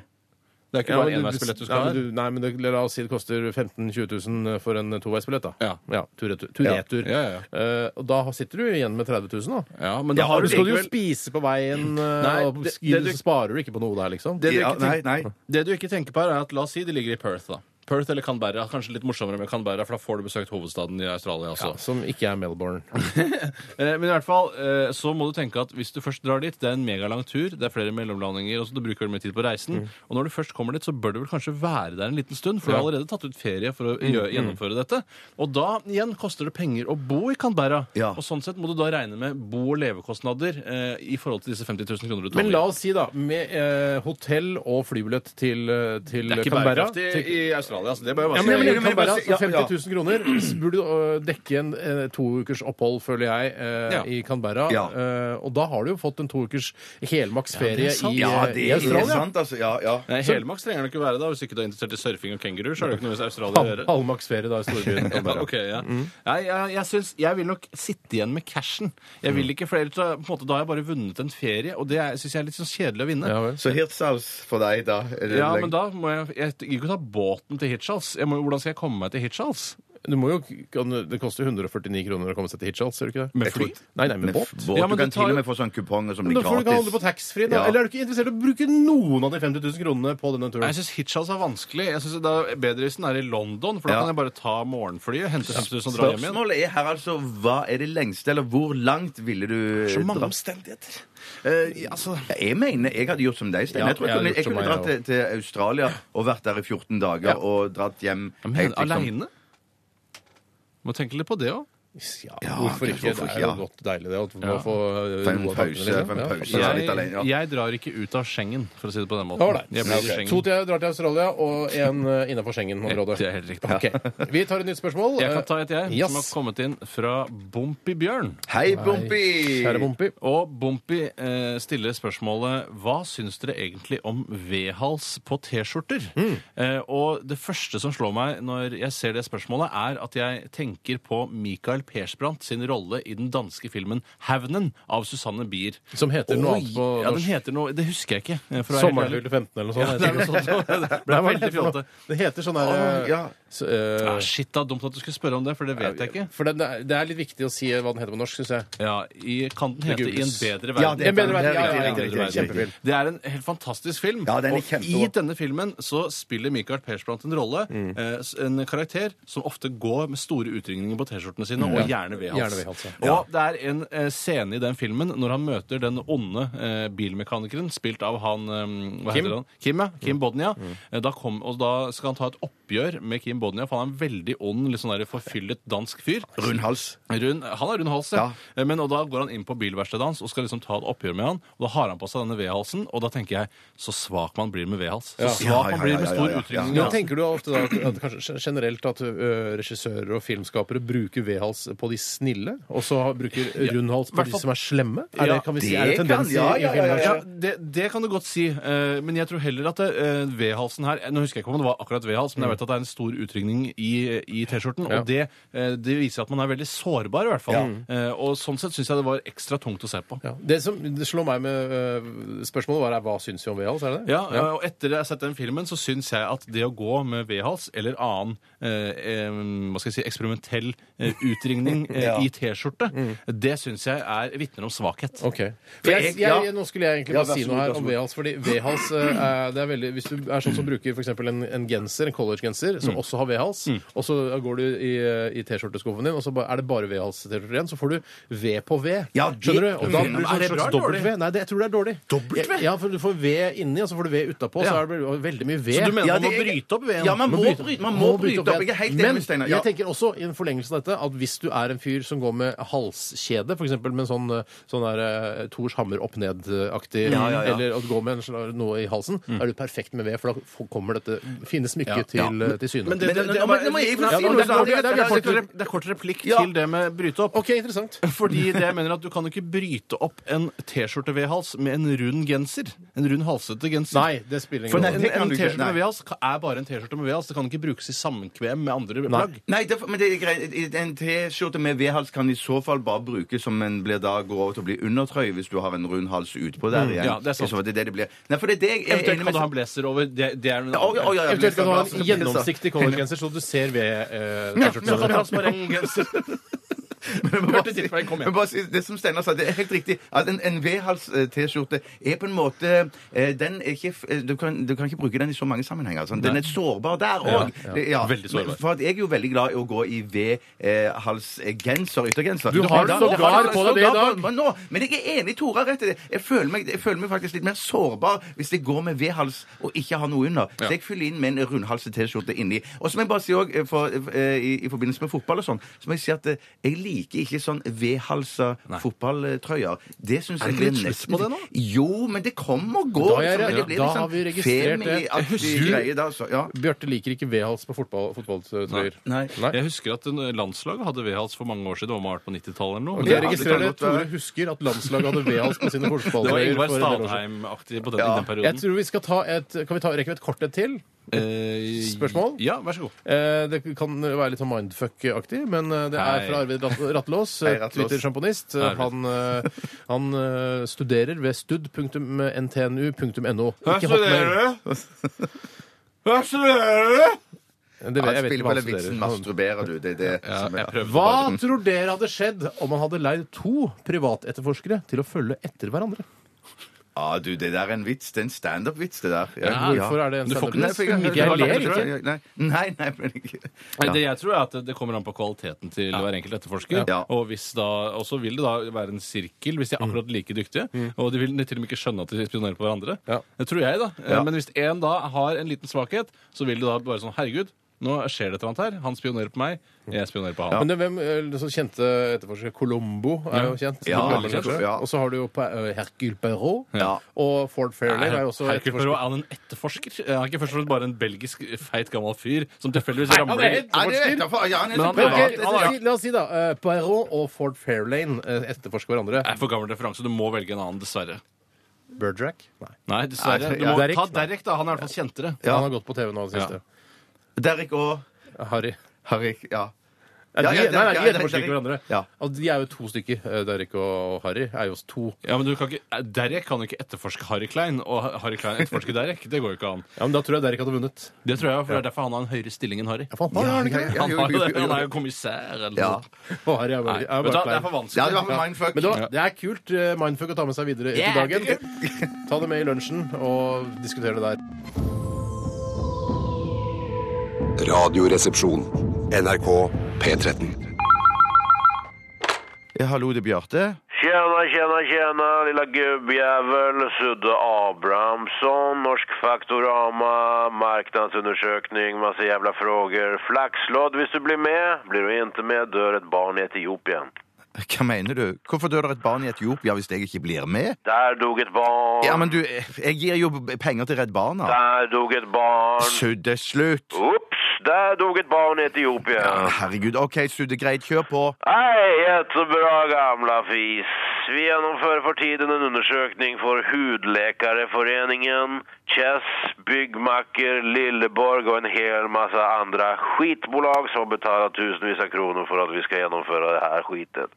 Speaker 2: Det er ikke
Speaker 1: Ja,
Speaker 2: bare
Speaker 1: men du-
Speaker 2: enveisbillett du
Speaker 1: ja,
Speaker 2: skal
Speaker 1: men
Speaker 2: ha.
Speaker 1: du- Nei, men det, la oss si det koster 15 000-20 000 for en toveisbillett, da. Ja. Tur-retur.
Speaker 2: Ja.
Speaker 1: Tur-retur.
Speaker 2: Ja, ja,
Speaker 1: Eh, og da sitter du igjen med 30 000, da.
Speaker 2: Ja, men da
Speaker 1: Ja,
Speaker 2: har
Speaker 1: du
Speaker 2: du
Speaker 1: skal jo
Speaker 2: likevel-
Speaker 1: spise på veien, eh,
Speaker 2: Nei,
Speaker 1: og
Speaker 2: det-
Speaker 1: sk-
Speaker 2: det du-
Speaker 1: sparer du ikke på noe der, liksom.
Speaker 2: Det du, ikke tenker, det du ikke tenker på, her, er at la oss si de ligger i Perth, da. Perth eller Canberra. Kanskje litt morsommere med Canberra, for da får du besøkt hovedstaden i Australia også.
Speaker 1: altså, Som ikke er Melbourne.
Speaker 2: Eh, Men i hvert fall, eh, så må du tenke at hvis du først drar dit, det er en megalang tur, det er flere mellomlandinger, og så du bruker veldig mye tid på reisen.
Speaker 22: Mm.
Speaker 2: Og når du først kommer dit, så bør du vel kanskje være der en liten stund, for du har
Speaker 22: Ja.
Speaker 2: allerede tatt ut ferie for å
Speaker 22: Mm,
Speaker 2: gjø-
Speaker 22: mm.
Speaker 2: gjennomføre dette. Og da igjen koster det penger å bo i Canberra. Og sånn sett må du da regne med bo- og levekostnader eh, i forhold til disse 50 000 kroner du tar
Speaker 1: Men la oss si, da, med eh, hotell og flybillett til, eh, til
Speaker 2: Det er ikke
Speaker 1: Canberra
Speaker 2: bærekraftig
Speaker 1: til-
Speaker 2: i Australia, altså. Det bør jeg bare
Speaker 1: ja,
Speaker 2: si.
Speaker 1: men, ja, men,
Speaker 2: Ja,
Speaker 1: i
Speaker 2: men-
Speaker 1: Canberra,
Speaker 2: ja, ja.
Speaker 1: så 50 000 kroner så burde øh, dekke en eh, to ukers opphold, føler jeg, eh,
Speaker 2: Ja.
Speaker 1: i Canberra. Eh, og da har du jo fått en to ukers helmaks
Speaker 2: det er
Speaker 1: ferie
Speaker 2: sant.
Speaker 1: i,
Speaker 2: Ja,
Speaker 1: eh,
Speaker 2: det
Speaker 1: i
Speaker 2: er
Speaker 1: Australia.
Speaker 2: sant,
Speaker 3: altså. Ja, ja.
Speaker 2: Nei,
Speaker 1: Så-
Speaker 2: Helmaks trenger det ikke være da, hvis ikke du er interessert i surfing og kenguruer. så er det jo ikke noe med Australia å
Speaker 1: Hal-
Speaker 2: gjøre.
Speaker 1: Halvmaks ferie da i storbyen Canberra.
Speaker 2: Ja, ok, ja. Nei, jeg, jeg, syns, jeg vil nok sitte igjen med cashen. Jeg vil ikke flere, så, på en måte, Da har jeg bare vunnet en ferie, og det syns jeg er litt sånn kjedelig å vinne. Ja,
Speaker 3: Så Hirtshals for deg, da? Er det lenge-
Speaker 2: men da må jeg Jeg gidder ikke å ta båten til Hirtshals. Jeg må, hvordan skal jeg komme meg til Hirtshals?
Speaker 1: Du må jo, kan, det koster 149 kroner å komme seg til Hitchhals, gjør det ikke det?
Speaker 2: Med fly?
Speaker 1: Nei, nei, med,
Speaker 3: Med
Speaker 1: båt.
Speaker 3: f- båt. Ja, men Du kan det tar til jo- og med få sånn kuponger som
Speaker 1: Men
Speaker 3: blir
Speaker 1: da får du ikke
Speaker 3: gratis.
Speaker 1: handle på taxfree, da.
Speaker 3: Ja.
Speaker 1: Eller er du ikke interessert i å bruke noen av de 50 000 kronene på denne turen?
Speaker 2: Nei, Jeg syns Hitchhals er vanskelig. Jeg synes det er Bedre hvis den er i London, for da
Speaker 3: Ja.
Speaker 2: kan jeg bare ta morgenflyet, hente 50 000 og dra hjem igjen.
Speaker 3: Spørsmålet er her altså hva er det lengste, eller hvor langt ville du
Speaker 2: Så mange
Speaker 3: dra?
Speaker 2: omstendigheter.
Speaker 3: Eh,
Speaker 2: altså.
Speaker 3: Jeg mener jeg hadde gjort som deg, Stein.
Speaker 2: Ja,
Speaker 3: jeg tror jeg,
Speaker 2: jeg hadde
Speaker 3: kunne-
Speaker 2: gjort
Speaker 3: jeg
Speaker 2: som
Speaker 3: kunne
Speaker 2: meg,
Speaker 3: dratt
Speaker 2: jeg
Speaker 3: til, til Australia og vært der i 14 dager og dratt hjem. liksom,
Speaker 2: Men aleine? Må tenke litt på det òg.
Speaker 1: Ja, hvorfor ikke? Det er jo godt deilig det. At man
Speaker 2: Ja.
Speaker 1: får øh,
Speaker 2: Ta en
Speaker 1: roa tankene
Speaker 2: pause,
Speaker 3: liksom?
Speaker 1: litt,
Speaker 2: ta en
Speaker 1: ja.
Speaker 3: altså,
Speaker 2: pause, være litt alene, ja. Jeg drar ikke ut av Schengen, for å si det på den måten.
Speaker 1: Ålreit.
Speaker 2: Jeg blir i
Speaker 1: Ok.
Speaker 2: Schengen.
Speaker 1: To til jeg drar til Australia, og én innafor Schengen-området.
Speaker 2: Det er helt riktig.
Speaker 1: Ok. Vi tar et nytt spørsmål.
Speaker 2: Jeg kan ta et jeg,
Speaker 1: Yes.
Speaker 2: som har kommet inn fra Bompi Bjørn.
Speaker 1: Hei, Bompi! Hei. Eh, Kjære Bompi.
Speaker 2: Og Bompi eh, stiller spørsmålet Hva syns dere egentlig om V-hals på T-skjorter?
Speaker 1: Mm.
Speaker 2: Eh, og det første som slår meg når jeg ser det spørsmålet, er at jeg tenker på Michael Persbrandt sin rolle i den danske filmen 'Havnen' av Susanne Bier.
Speaker 1: Som heter noe
Speaker 2: Oi,
Speaker 1: annet på
Speaker 2: Ja, den
Speaker 1: norsk.
Speaker 2: heter noe, det husker jeg ikke. eh, for å være helt ærlig.
Speaker 1: Sommerfugl 15 eller noe sånt.
Speaker 2: Ja, det er noe sånt. Det ble
Speaker 1: Nei, hva er
Speaker 2: veldig
Speaker 1: det for noe?
Speaker 2: fjollete.
Speaker 1: Det heter sånn her
Speaker 2: Åh, ja.
Speaker 1: s- eh,
Speaker 2: Ah, shit, da. Dumt at du skulle spørre om det, for det vet jeg ikke.
Speaker 1: For det, det er litt viktig å si hva den heter på norsk, syns jeg.
Speaker 2: Ja, i, Kan den
Speaker 1: Det
Speaker 2: hete I en
Speaker 1: googles.
Speaker 2: bedre
Speaker 1: Ja,
Speaker 2: verden?
Speaker 1: det er En bedre verden, ja,
Speaker 2: En
Speaker 1: ja, ja,
Speaker 2: bedre
Speaker 1: riktig, riktig,
Speaker 2: verden.
Speaker 1: riktig, riktig.
Speaker 2: Det er en helt fantastisk film.
Speaker 1: den er
Speaker 2: og
Speaker 1: kjempegod. Mm.
Speaker 2: i denne filmen så spiller Michael Persbrandt en rolle. eh, s- En karakter som ofte går med store utringninger på T-skjortene sine,
Speaker 1: Mm.
Speaker 2: og
Speaker 1: Ja.
Speaker 2: gjerne
Speaker 1: Gjerne
Speaker 2: V-hals.
Speaker 1: V-hals, ja.
Speaker 2: Og det er en eh, scene i den filmen når han møter den onde eh, bilmekanikeren, spilt av han eh, hva
Speaker 1: Kim. Mm.
Speaker 2: heter han? Kim, ja. Kim Bodnia. Eh, Da, kom, og da skal han ta et oppgjør med Kim Bodnia, for han er en veldig ond, litt sånn der forfyllet dansk fyr.
Speaker 3: Rund hals.
Speaker 2: Rund, han har rund hals, ja. Eh, Men, og da går han inn på bilverkstedet hans og skal liksom ta et oppgjør med han. Og da har han på seg denne V-halsen, og da tenker jeg så svak man blir med V-hals. Så svak man blir med stor utrykning.
Speaker 1: Men tenker du ofte da at, at kanskje gen- generelt at ø, regissører og filmskapere bruker V-hals på de snille, og så har- bruker rundhals på
Speaker 2: hvert
Speaker 1: de
Speaker 2: fall-
Speaker 1: som er slemme? Er det, kan vi si, er det
Speaker 2: kan-
Speaker 1: tendens i- i filmbransjen?
Speaker 2: det, det kan du godt si. eh, men jeg tror heller at eh, V-halsen her Nå husker jeg ikke om det var akkurat V-hals, men jeg vet at det er en stor utrygning i, i T-skjorten.
Speaker 1: Ja.
Speaker 2: Og det, eh, det viser at man er veldig sårbar, i hvert fall.
Speaker 1: Ja.
Speaker 2: Eh, og sånn sett syns jeg det var ekstra tungt å se på.
Speaker 1: Ja. Det som det slår meg med ø, spørsmålet, var er, hva syns vi om V-hals? Er det det?
Speaker 2: Ja, og etter jeg har sett den filmen, så syns jeg at det å gå med V-hals eller annen eh, eh, hva skal jeg si, eksperimentell eh, utringning eh,
Speaker 1: Ja. Mm.
Speaker 2: i T-skjorte, det syns jeg er vitner om svakhet.
Speaker 1: Ok. For jeg, jeg, nå skulle jeg egentlig
Speaker 2: Ja,
Speaker 1: bare
Speaker 2: vær
Speaker 1: si
Speaker 2: så
Speaker 1: noe
Speaker 2: god, vær
Speaker 1: her
Speaker 2: så
Speaker 1: om
Speaker 2: god.
Speaker 1: V-hals. fordi V-hals eh, er- det er veldig Hvis du er sånn som bruker f.eks. En, en genser, en college-genser, som
Speaker 2: Mm.
Speaker 1: også har V-hals, og så går du i, eh, i T-skjorteskuffen din, og så ba- er det bare V-hals-T-skjorter igjen, så får du V på V.
Speaker 2: Ja, det-
Speaker 1: Skjønner du? Og da
Speaker 2: Men
Speaker 1: blir det
Speaker 2: er det
Speaker 1: sånn
Speaker 2: bra
Speaker 1: slags
Speaker 2: eller dårlig?
Speaker 1: dobbelt-V. Nei, det, jeg tror det er dårlig. Dobbelt-V? Ja, for du får V inni, og så får du V utapå,
Speaker 2: Ja.
Speaker 1: så er det veldig mye V.
Speaker 2: Så du mener man må
Speaker 1: det-
Speaker 2: bryte opp V-en?
Speaker 1: Ja, man må bryte
Speaker 2: bryte-
Speaker 1: man må bryte opp
Speaker 2: V-en.
Speaker 1: V-en.
Speaker 2: Men
Speaker 1: Men
Speaker 2: jeg
Speaker 1: jeg tenker også i en forlengelse av dette at hvis du er en fyr som går med halskjede, f.eks. med en sånn, eh, sånn der eh, Thors hammer opp-ned-aktig,
Speaker 2: Ja, ja, ja.
Speaker 1: eller at du går med en slags, noe i halsen,
Speaker 2: Mm.
Speaker 1: er du perfekt med ved, for da f- kommer dette fine
Speaker 2: Ja,
Speaker 1: smykket
Speaker 2: ja.
Speaker 1: til, eh, til syne.
Speaker 2: Men det- det- det-
Speaker 1: Ja,
Speaker 2: bare-
Speaker 1: men nå må jeg få
Speaker 2: Ja,
Speaker 1: si
Speaker 2: men
Speaker 1: noe,
Speaker 2: det er kort-
Speaker 1: det er- det er-
Speaker 2: det er
Speaker 1: kort-
Speaker 2: kort rep- Det er kort replikk
Speaker 1: Ja.
Speaker 2: til det med bryte opp.
Speaker 1: Ok, interessant.
Speaker 2: Fordi det jeg mener at du kan jo ikke bryte opp en T-skjorte-V-hals med en rund genser. En rund halsete genser.
Speaker 1: Nei, det spiller ingen
Speaker 2: For
Speaker 1: rolle.
Speaker 2: en,
Speaker 1: Det kan
Speaker 2: en
Speaker 1: du ikke-
Speaker 2: T-skjorte
Speaker 1: nei.
Speaker 2: med V-hals ka- er bare en T-skjorte med V-hals. Det kan ikke brukes i sammenkvem med andre plagg.
Speaker 3: Nei, det, men det er greit. En T-skjorte med V-hals kan i så fall bare brukes som en blir da går over til å bli undertrøye hvis du har en rund hals utpå der
Speaker 2: Mm.
Speaker 3: igjen.
Speaker 2: Ja, det er sant.
Speaker 3: I så fall, det er det det blir. Nei, for det er det jeg er enig
Speaker 2: Eventuelt
Speaker 3: med-
Speaker 2: kan du ha en blazer over. Det, det er en
Speaker 3: Ja, å, å, ja, ja,
Speaker 1: Eventuelt kan du ha
Speaker 3: blazer,
Speaker 1: en
Speaker 3: blazer.
Speaker 1: gjennomsiktig collegegenser, så du ser ved eh,
Speaker 3: Ja,
Speaker 1: T-skjorten.
Speaker 3: ja, transparent
Speaker 2: genser.
Speaker 3: Men
Speaker 17: Hørte sitt poeng, kom igjen.
Speaker 3: men bare si- det som Steinar sa, det er helt riktig. At en, en V-hals-T-skjorte er på en måte eh, Den er ikke f- eh, du kan, du kan ikke bruke den i så mange sammenhenger. Sånn. Den
Speaker 17: Nei.
Speaker 3: er sårbar der
Speaker 17: Ja,
Speaker 3: òg.
Speaker 17: ja. Veldig
Speaker 3: Veldig
Speaker 17: sårbar.
Speaker 3: For at jeg er jo veldig glad i å gå i V-hals-genser, yttergenser.
Speaker 17: Du har
Speaker 3: Da-
Speaker 17: sågar
Speaker 3: da har jeg
Speaker 17: på deg det i
Speaker 3: sågar
Speaker 17: dag.
Speaker 3: på- Nå, men jeg er enig, Tora har rett i det. Jeg føler, meg, jeg føler meg faktisk litt mer sårbar hvis jeg går med V-hals og ikke har noe under.
Speaker 17: Ja.
Speaker 3: Så jeg fyller inn med en rundhalset T-skjorte inni. Og så må jeg bare si òg, for, eh, i, i forbindelse med fotball og sånn, så må jeg si at eh, jeg liker ikke sånn V-halsa fotballtrøyer. Det syns
Speaker 17: Er
Speaker 3: jeg
Speaker 17: det ikke
Speaker 3: blir
Speaker 17: litt slutt
Speaker 3: nesten
Speaker 17: på det nå?
Speaker 3: Jo, men det kommer og går.
Speaker 1: Da er jeg
Speaker 3: liksom.
Speaker 1: redd.
Speaker 3: Det blir
Speaker 1: Da
Speaker 3: litt sånn
Speaker 1: har vi registrert det.
Speaker 3: femi-aktig
Speaker 1: Jeg husker-
Speaker 3: greie da, så, ja.
Speaker 1: Bjarte liker ikke V-hals på fotball, fotballtrøyer.
Speaker 2: Jeg husker at en- landslaget hadde V-hals for mange år siden. Det var malt på 90-tallet eller noe.
Speaker 1: Ok,
Speaker 2: Ja,
Speaker 1: jeg
Speaker 2: det
Speaker 1: registrerer
Speaker 2: kan
Speaker 1: det.
Speaker 2: godt
Speaker 1: Tore
Speaker 2: være.
Speaker 1: husker at landslaget hadde V-hals på sine
Speaker 2: eh, Det var
Speaker 1: fotballtrøyer.
Speaker 2: Ingvar
Speaker 1: for en del år siden.
Speaker 2: Stadheim-aktig på den, i den
Speaker 1: Jeg
Speaker 2: perioden.
Speaker 1: tror vi skal ta et Kan vi ta, rekke vi et kort et til?
Speaker 2: Eh,
Speaker 1: Spørsmål?
Speaker 2: Ja, vær så god.
Speaker 1: Eh, det kan være litt sånn mindfuck-aktig, men eh, det er
Speaker 2: Hei.
Speaker 1: fra Arvid Rat- Rattlås, eh,
Speaker 2: Hei, Rattlås.
Speaker 1: Twitter-sjamponist.
Speaker 2: Hei, Arvid.
Speaker 1: Han, eh, han eh, studerer ved eh, stud.ntnu.no.
Speaker 2: Hva
Speaker 1: Ikke
Speaker 2: studerer
Speaker 1: Hotmail.
Speaker 2: Hva studerer du?
Speaker 1: Det vet, jeg
Speaker 3: Spiller
Speaker 1: vet ikke
Speaker 3: på
Speaker 1: hva han
Speaker 3: den vitsen
Speaker 1: studerer.
Speaker 3: masturberer du. Det er det som er
Speaker 1: Hva tror dere hadde skjedd om man hadde leid to privatetterforskere til å følge etter hverandre?
Speaker 3: Ja, du, det der er en vits. Det er en standup-vits, det der.
Speaker 1: Ja, hvorfor er det en Du får ikke- standup-vits?
Speaker 3: Nei, for jeg-
Speaker 1: Ikke jeg ler
Speaker 2: ikke.
Speaker 3: Nei, nei, nei, men ikke.
Speaker 2: Nei, Det jeg tror er at det kommer an på kvaliteten til hver enkelt etterforsker.
Speaker 3: Ja.
Speaker 2: Og hvis da, og så vil det da være en sirkel hvis de er
Speaker 1: Mm.
Speaker 2: akkurat like dyktige. Og de vil til og med ikke skjønne at de spionerer på hverandre. Det tror jeg, da. Eh,
Speaker 3: Ja.
Speaker 2: Men hvis én da har en liten svakhet, så vil det da bare sånn Herregud, nå skjer det et eller annet her. Han spionerer på meg, jeg spionerer på han.
Speaker 1: Men det, hvem eh, så kjente etterforskere? Colombo er jo kjent.
Speaker 2: Ja,
Speaker 1: Veldig
Speaker 2: veldig kjent.
Speaker 1: Og så har du jo Pa- eh, Hercule Perrault.
Speaker 2: Ja.
Speaker 1: Og Ford Fairley er jo også
Speaker 2: Hercule Poirot, er han en etterforsker? Er han ikke først og fremst bare en belgisk feit gammel fyr som tilfeldigvis ramler
Speaker 1: Nei, han er
Speaker 3: etterforsker.
Speaker 1: etterforsker.
Speaker 3: Ja, han er
Speaker 2: Men han-
Speaker 1: Men ok,
Speaker 2: han- han-
Speaker 1: la oss si- La oss si, da. eh, Poirot og Ford Fairlane eh, etterforsker hverandre.
Speaker 2: er for gammel referanse. Du må velge en annen, dessverre.
Speaker 1: Berdrack? Nei.
Speaker 2: Nei, dessverre. Du må
Speaker 1: Derek?
Speaker 2: ta Derek, da. Han er i hvert fall kjentere.
Speaker 1: Ja. Han har gått på TV nå i det siste.
Speaker 3: Derek og
Speaker 1: Harry.
Speaker 3: Harry, ja.
Speaker 1: Ja, de,
Speaker 3: Ja, ja,
Speaker 1: nei, nei,
Speaker 3: Derek,
Speaker 1: de
Speaker 3: ja,
Speaker 1: etterforsker ikke
Speaker 3: Derek.
Speaker 1: hverandre.
Speaker 3: Ja.
Speaker 1: Altså, de er jo to stykker. eh, Derek og Harry er jo to.
Speaker 2: Ja, men du kan ikke, eh, Derek kan jo ikke etterforske Harry Klein, og Harry Klein etterforsker Derek. Det går jo ikke an.
Speaker 1: Ja, men Da tror jeg Derek hadde vunnet.
Speaker 2: Det tror jeg, for det er derfor han har en høyere stilling enn Harry.
Speaker 1: for han har det ikke det?
Speaker 2: Han
Speaker 1: Ja,
Speaker 2: har jo
Speaker 1: jo, jo,
Speaker 2: det.
Speaker 1: jo, jo.
Speaker 2: Han er jo kommissær eller
Speaker 1: Ja.
Speaker 2: noe.
Speaker 1: Og Harry
Speaker 2: Nei,
Speaker 1: er bare, er
Speaker 2: vet du hva,
Speaker 1: bare
Speaker 2: det er for vanskelig. Ja, det var mindfuck.
Speaker 1: Men det, var, det er kult eh, mindfuck å ta med seg videre
Speaker 2: Yeah,
Speaker 1: til dagen. Ta det med i lunsjen og diskutere det der.
Speaker 7: Radioresepsjon. NRK P13.
Speaker 3: Ja, hallo, det er Bjarte.
Speaker 23: Tjena, tjena, tjena, lilla gubbjävel. Sudde Abrahamsson, Norsk Faktorama, marknadsundersökning, massa jävla frågor. Flaxlodd, visst du blir med? Blir du inte med dör ett barn i Etiopien.
Speaker 3: Hva mener du? Hvorfor dør det et barn i Etiopia hvis jeg ikke blir med?
Speaker 23: Där dog ett barn.
Speaker 3: Ja, men du, jeg gir jo penger til Redd Barna.
Speaker 23: Där dog ett barn.
Speaker 3: Suddeslutt.
Speaker 23: Oops, där dog ett barn i Etiopien.
Speaker 3: Herregud, OK, sudde greit, kjør på.
Speaker 23: Hei, jättebra gamla fis. Vi genomför för tiden en undersökning för Hudläkareföreningen, Chess, Byggmacker, Lilleborg och en hel massa andra skitbolag som betalar tusenvis av kronor för att vi ska genomföra det här skiten.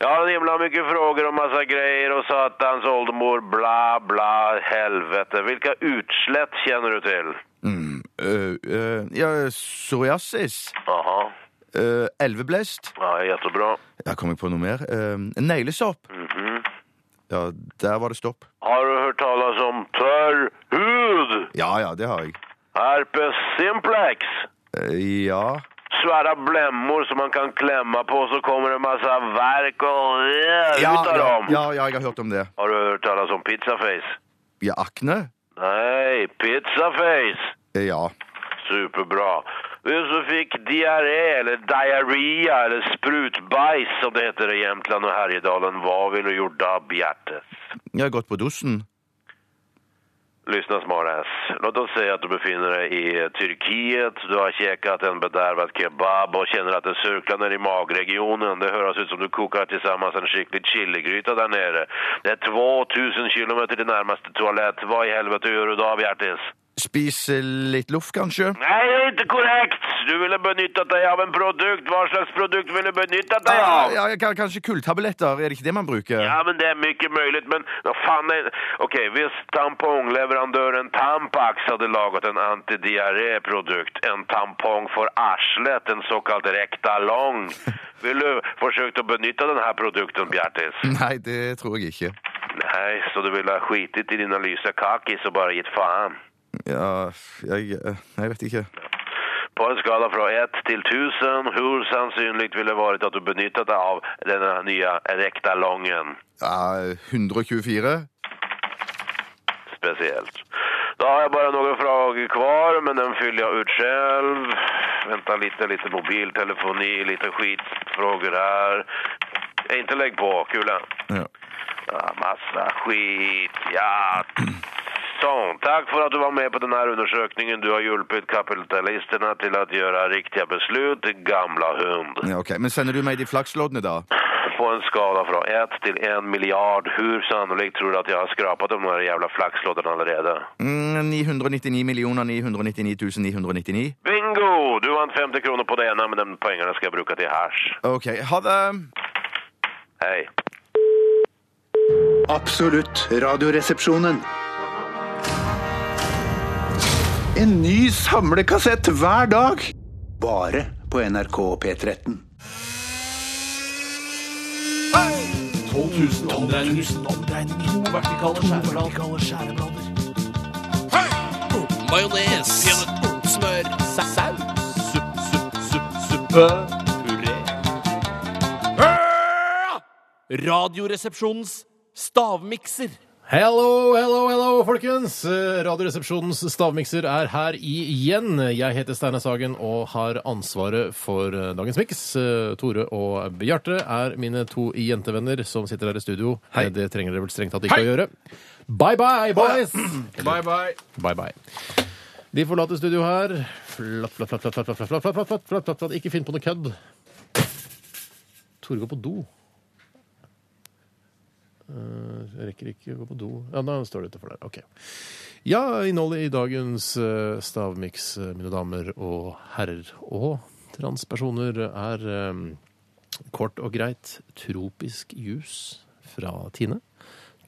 Speaker 23: Jag har en himla mycket frågor och massa grejer och satans åldermor, bla bla, helvete. Vilka utslätt känner du till?
Speaker 3: Mm, øh, øh, ja, psoriasis.
Speaker 23: Jaha.
Speaker 3: Øh, elveblest.
Speaker 23: Ja, jättebra.
Speaker 3: Ja, kom jeg på noe mer? Øh, neglesopp.
Speaker 23: Mhm.
Speaker 3: Ja, der var det stopp.
Speaker 23: Har du hört talas om törr hud?
Speaker 3: Ja, ja, det har jeg.
Speaker 23: Herpes simplex.
Speaker 3: Eh, Ja.
Speaker 23: Svära blämmor som man kan klämma på så kommer det massa verk och
Speaker 3: Ja,
Speaker 23: utav
Speaker 3: ja,
Speaker 23: dem.
Speaker 3: ja, ja, jeg har hørt om det.
Speaker 23: Har du hört talas om pizzaface?
Speaker 3: Ja, akne?
Speaker 23: Nej, pizzaface.
Speaker 3: Eh, Ja.
Speaker 23: Superbra. Du som fick diarré eller diarrhea eller sprutbajs som det heter i Jämtland och Härjedalen. Vad vill du gjort av hjärtat?
Speaker 3: Jeg har gått på dosen.
Speaker 23: Lyssna smartass. Låt oss säga att du befinner dig i Turkiet. Du har käkat en bedärvad kebab och känner att det surklar ner i magregionen. Det hörs ut som du kokar tillsammans en skicklig chiligryta där nere. Det är 2000 kilometer till närmaste toalett. Vad i helvete gör du då, Bjertis?
Speaker 3: Spise eh, litt luft, kanskje?
Speaker 23: Nei, det er ikke korrekt! Du ville benyttet deg av en produkt. Hva slags produkt ville du benyttet deg
Speaker 3: Ja,
Speaker 23: av?
Speaker 3: ja, ka- kanskje kulltabletter? Er det ikke det man bruker?
Speaker 23: Ja, men det er mye mulig, men nå faen er... Ok, hvis tampongleverandøren Tampax hadde laget en antidiarréprodukt, en tampong for arslet, en såkalt rektalong, ville du forsøkt å benytte denne produkten, Bjertis?
Speaker 3: Nei, det tror jeg ikke.
Speaker 23: Nei, så du ville ha skitit i dina lysa kakis og bare gitt faen?
Speaker 3: Ja, jeg, eh, jeg vet ikke.
Speaker 23: På en skala fra 1 til 1000, hvor sannsynlig ville det vært at du benyttet deg av denne nye rektalongen?
Speaker 3: Ja, 124?
Speaker 23: Spesielt. Da har jeg bare noen frågor kvar, men den fyller jeg ut selv. Vänta lite, lite mobiltelefoni, lite skitfrågor här. Eh, Inte lägg på, kula.
Speaker 3: Ja.
Speaker 23: Ja, massa skit. Ja, sånn. Takk for at du var med på denne undersøkningen. Du har hjulpet kapitalistene til å gjøre riktige beslut, gamla hund.
Speaker 3: Ja, ok. Men sender du meg de flaksloddene, da?
Speaker 23: På en skala fra 1 til 1 miljard, hvor sannolikt tror du at jeg har skrapat de här jävla flaxlådorna allerede?
Speaker 3: Mm, 999 999 999.
Speaker 23: Bingo! Du vant 50 kroner på det ene, men de poengene skal jeg bruke til hasj.
Speaker 3: Ok, ha det!
Speaker 23: Hei.
Speaker 19: Absolutt radioresepsjonen. En ny samlekassett hver dag. Bare på NRK P13.
Speaker 22: 12 000 omdreininger. To vertikale skjæreblader.
Speaker 2: Majones. Smør. Saus. Supp, supp, supp, suppe. Puré.
Speaker 22: Radioresepsjonens stavmikser.
Speaker 1: Hello, hello, hello, folkens! Eh, Radioresepsjonens stavmikser er her igjen. Jeg heter Steinar Sagen og har ansvaret for eh, dagens miks. Eh, Tore og Bjarte er mine to jentevenner som sitter her i studio. Eh, Det trenger dere vel strengt tatt ikke å gjøre. Bye bye, boys!
Speaker 17: Bye, bye.
Speaker 1: Bye bye. De forlater studio her. Flatt, flatt, flatt, flatt, flatt, flatt, flatt, flatt, flatt, flatt, flatt, flatt, flatt. Ikke finn på noe kødd. Tore går på do. Eh, Jeg rekker ikke å gå på do. Ja, da står det utenfor der. Ok. Ja, innholdet i dagens eh, stavmiks, eh, mine damer og herrer og transpersoner, er eh, kort og greit tropisk jus fra Tine.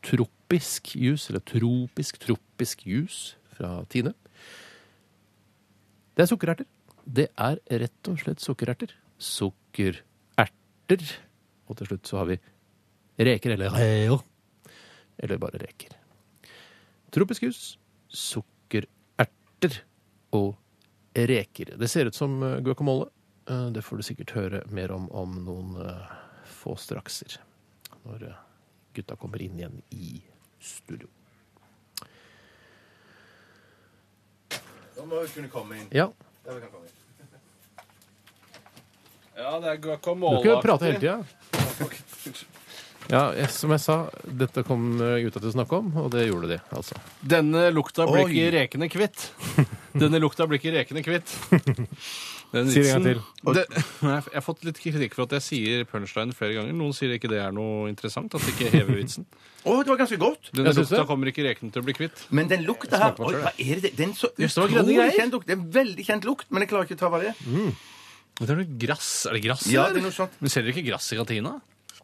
Speaker 1: Tropisk jus, eller tropisk, tropisk jus fra Tine. Det er sukkererter. Det er rett og slett sukkererter. Sukkererter. Og til slutt så har vi reker, eller reker. Eller bare reker. Tropisk jus, sukkererter og reker. Det ser ut som eh, guacamole. Eh, Det får du sikkert høre mer om om noen eh, få strakser. Når eh, gutta kommer inn igjen i studio.
Speaker 3: Da må vi kunne komme inn.
Speaker 1: Ja.
Speaker 3: Da vi kan komme inn.
Speaker 2: Ja, det er
Speaker 1: Du
Speaker 2: guacamole.
Speaker 1: kan jo prate hele tida. Ja, jeg- som jeg sa, dette kom eh, gutta til å snakke om, og det gjorde de, altså.
Speaker 2: Denne lukta blir
Speaker 1: Oi.
Speaker 2: ikke rekene kvitt. Denne lukta blir ikke rekene kvitt. Den
Speaker 1: Si det en gang
Speaker 2: vitsen-
Speaker 1: til.
Speaker 2: Det, Nei, jeg har fått litt kritikk for at jeg sier punchline flere ganger. Noen sier ikke det er noe interessant, at det ikke hever vitsen.
Speaker 3: Å, det var ganske godt!
Speaker 2: Denne lukta kommer ikke rekene til å bli kvitt.
Speaker 3: Men den lukta her Oi, hva er det? Den er så
Speaker 2: Just, det var grønne
Speaker 3: utrolig
Speaker 2: greier.
Speaker 3: kjent lukt. Det er en veldig kjent lukt, men jeg klarer ikke å ta hva det er.
Speaker 2: Det er noe grass. Er det grass?
Speaker 3: Ja,
Speaker 2: eller?
Speaker 3: det er noe sånt.
Speaker 2: Men selger ikke grass i kantina?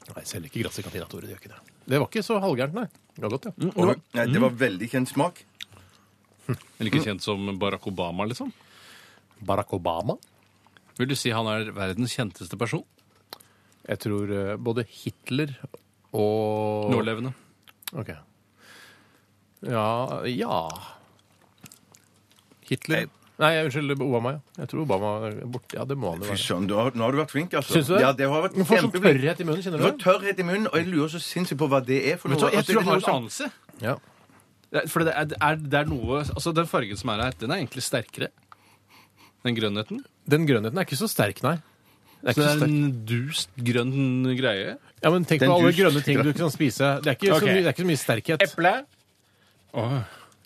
Speaker 1: Nei, selger ikke grass i kantina, Tore. Det gjør ikke det. Mm, Det var ikke så halvgærent, nei. Det var godt, ja.
Speaker 3: Oi, Nei, det var veldig kjent smak.
Speaker 2: Like kjent som Barack Obama, liksom?
Speaker 1: Barack Obama?
Speaker 2: Vil du si han er verdens kjenteste person?
Speaker 1: Jeg tror eh, både Hitler og
Speaker 2: Nålevende.
Speaker 1: Ok. Ja Ja. Hitler Nei, jeg- unnskyld, Obama, ja. Jeg tror Obama er borte. Ja, det må han jo
Speaker 3: Fy
Speaker 1: være.
Speaker 3: søren, du har- nå har du vært flink, altså.
Speaker 1: Syns du det?
Speaker 3: Ja, det har vært
Speaker 1: Du får sånn
Speaker 3: kjempeflink.
Speaker 1: tørrhet i munnen, kjenner du
Speaker 3: Du får tørrhet i munnen, og jeg lurer så sinnssykt på hva det er for noe.
Speaker 2: Vet du hva, jeg tror jeg
Speaker 3: Altså, det er
Speaker 2: har en
Speaker 3: noe
Speaker 2: anelse.
Speaker 1: Ja.
Speaker 2: Det er- For det er, det er, det er noe Altså, den fargen som er her, den er egentlig sterkere. Den grønnheten.
Speaker 1: Den grønnheten er ikke så sterk, nei. Det er
Speaker 2: Så det er
Speaker 1: ikke så sterk.
Speaker 2: en dust grønn greie.
Speaker 1: Ja, men tenk
Speaker 2: Den
Speaker 1: på alle
Speaker 2: dust-
Speaker 1: grønne ting du kan spise. Det er ikke,
Speaker 2: Ok.
Speaker 1: så, mye, det er ikke så mye sterkhet.
Speaker 2: Eple.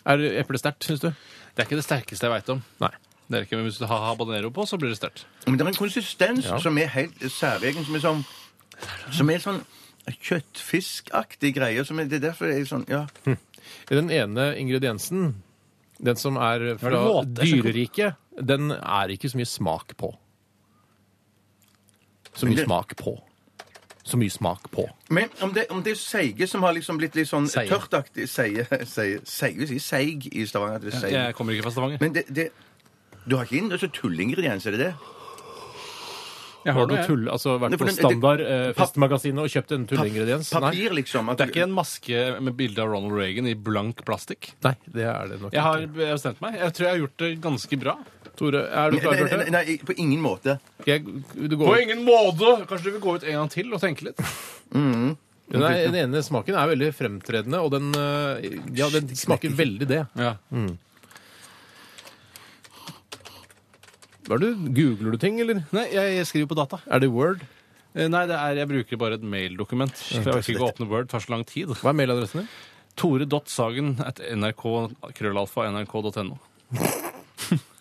Speaker 1: Er eple sterkt, syns du?
Speaker 2: Det er ikke det sterkeste jeg veit om.
Speaker 1: Nei.
Speaker 2: Det er ikke, men Hvis du har habanero på, så blir det sterkt.
Speaker 3: Men det er en konsistens
Speaker 2: Ja.
Speaker 3: som er helt særegen, som er sånn Som er sånn kjøttfiskaktig greie. Som er, det er derfor jeg er sånn Ja.
Speaker 1: Den ene ingrediensen Den som er
Speaker 24: det
Speaker 1: fra
Speaker 24: våte?
Speaker 1: dyreriket, den er ikke så mye smak på. Så mye
Speaker 3: det-
Speaker 1: smak på. Så mye smak på.
Speaker 3: Men om det, om det er seige som har liksom blitt litt sånn
Speaker 1: Seige.
Speaker 3: tørtaktig Seige, seige, seige, vi sier seig i Stavanger. at det er seig.
Speaker 1: Jeg
Speaker 2: kommer ikke fra Stavanger.
Speaker 3: Men det, det Du har ikke inn altså, tullingrediens, er det det?
Speaker 1: Jeg har
Speaker 3: Har du
Speaker 1: noe
Speaker 3: det?
Speaker 1: tull, altså vært
Speaker 3: Nei, for den- det-
Speaker 1: på standard eh, festmagasinet og kjøpt en tullingrediens. Nei,
Speaker 3: Papir, liksom.
Speaker 2: Det er ikke en maske med bilde av Ronald Reagan i blank plastikk.
Speaker 1: nei, det er det nok.
Speaker 2: Jeg har bestemt meg. Jeg tror jeg har gjort det ganske bra.
Speaker 1: Tore, er du
Speaker 3: Nei,
Speaker 1: klar,
Speaker 3: nei, nei,
Speaker 1: Bjarte?
Speaker 3: nei, på ingen måte.
Speaker 1: Jeg, du
Speaker 2: På
Speaker 1: går ut.
Speaker 2: ingen måte! Kanskje du vil gå ut en gang til og tenke litt?
Speaker 1: Den, er, den ene smaken er veldig fremtredende, og den, eh, ja, den smaker veldig det.
Speaker 2: Ja.
Speaker 1: Mm. Hva er det, du- Googler du ting, eller?
Speaker 2: Nei, jeg skriver på data.
Speaker 1: Er det Word?
Speaker 2: Eh, Nei, det er, jeg bruker bare et maildokument. For jeg orker ikke å åpne Word. Det tar så lang tid.
Speaker 1: Hva er mailadressen din?
Speaker 2: Tore.sagen at nrk.krøllalfa.nrk.no.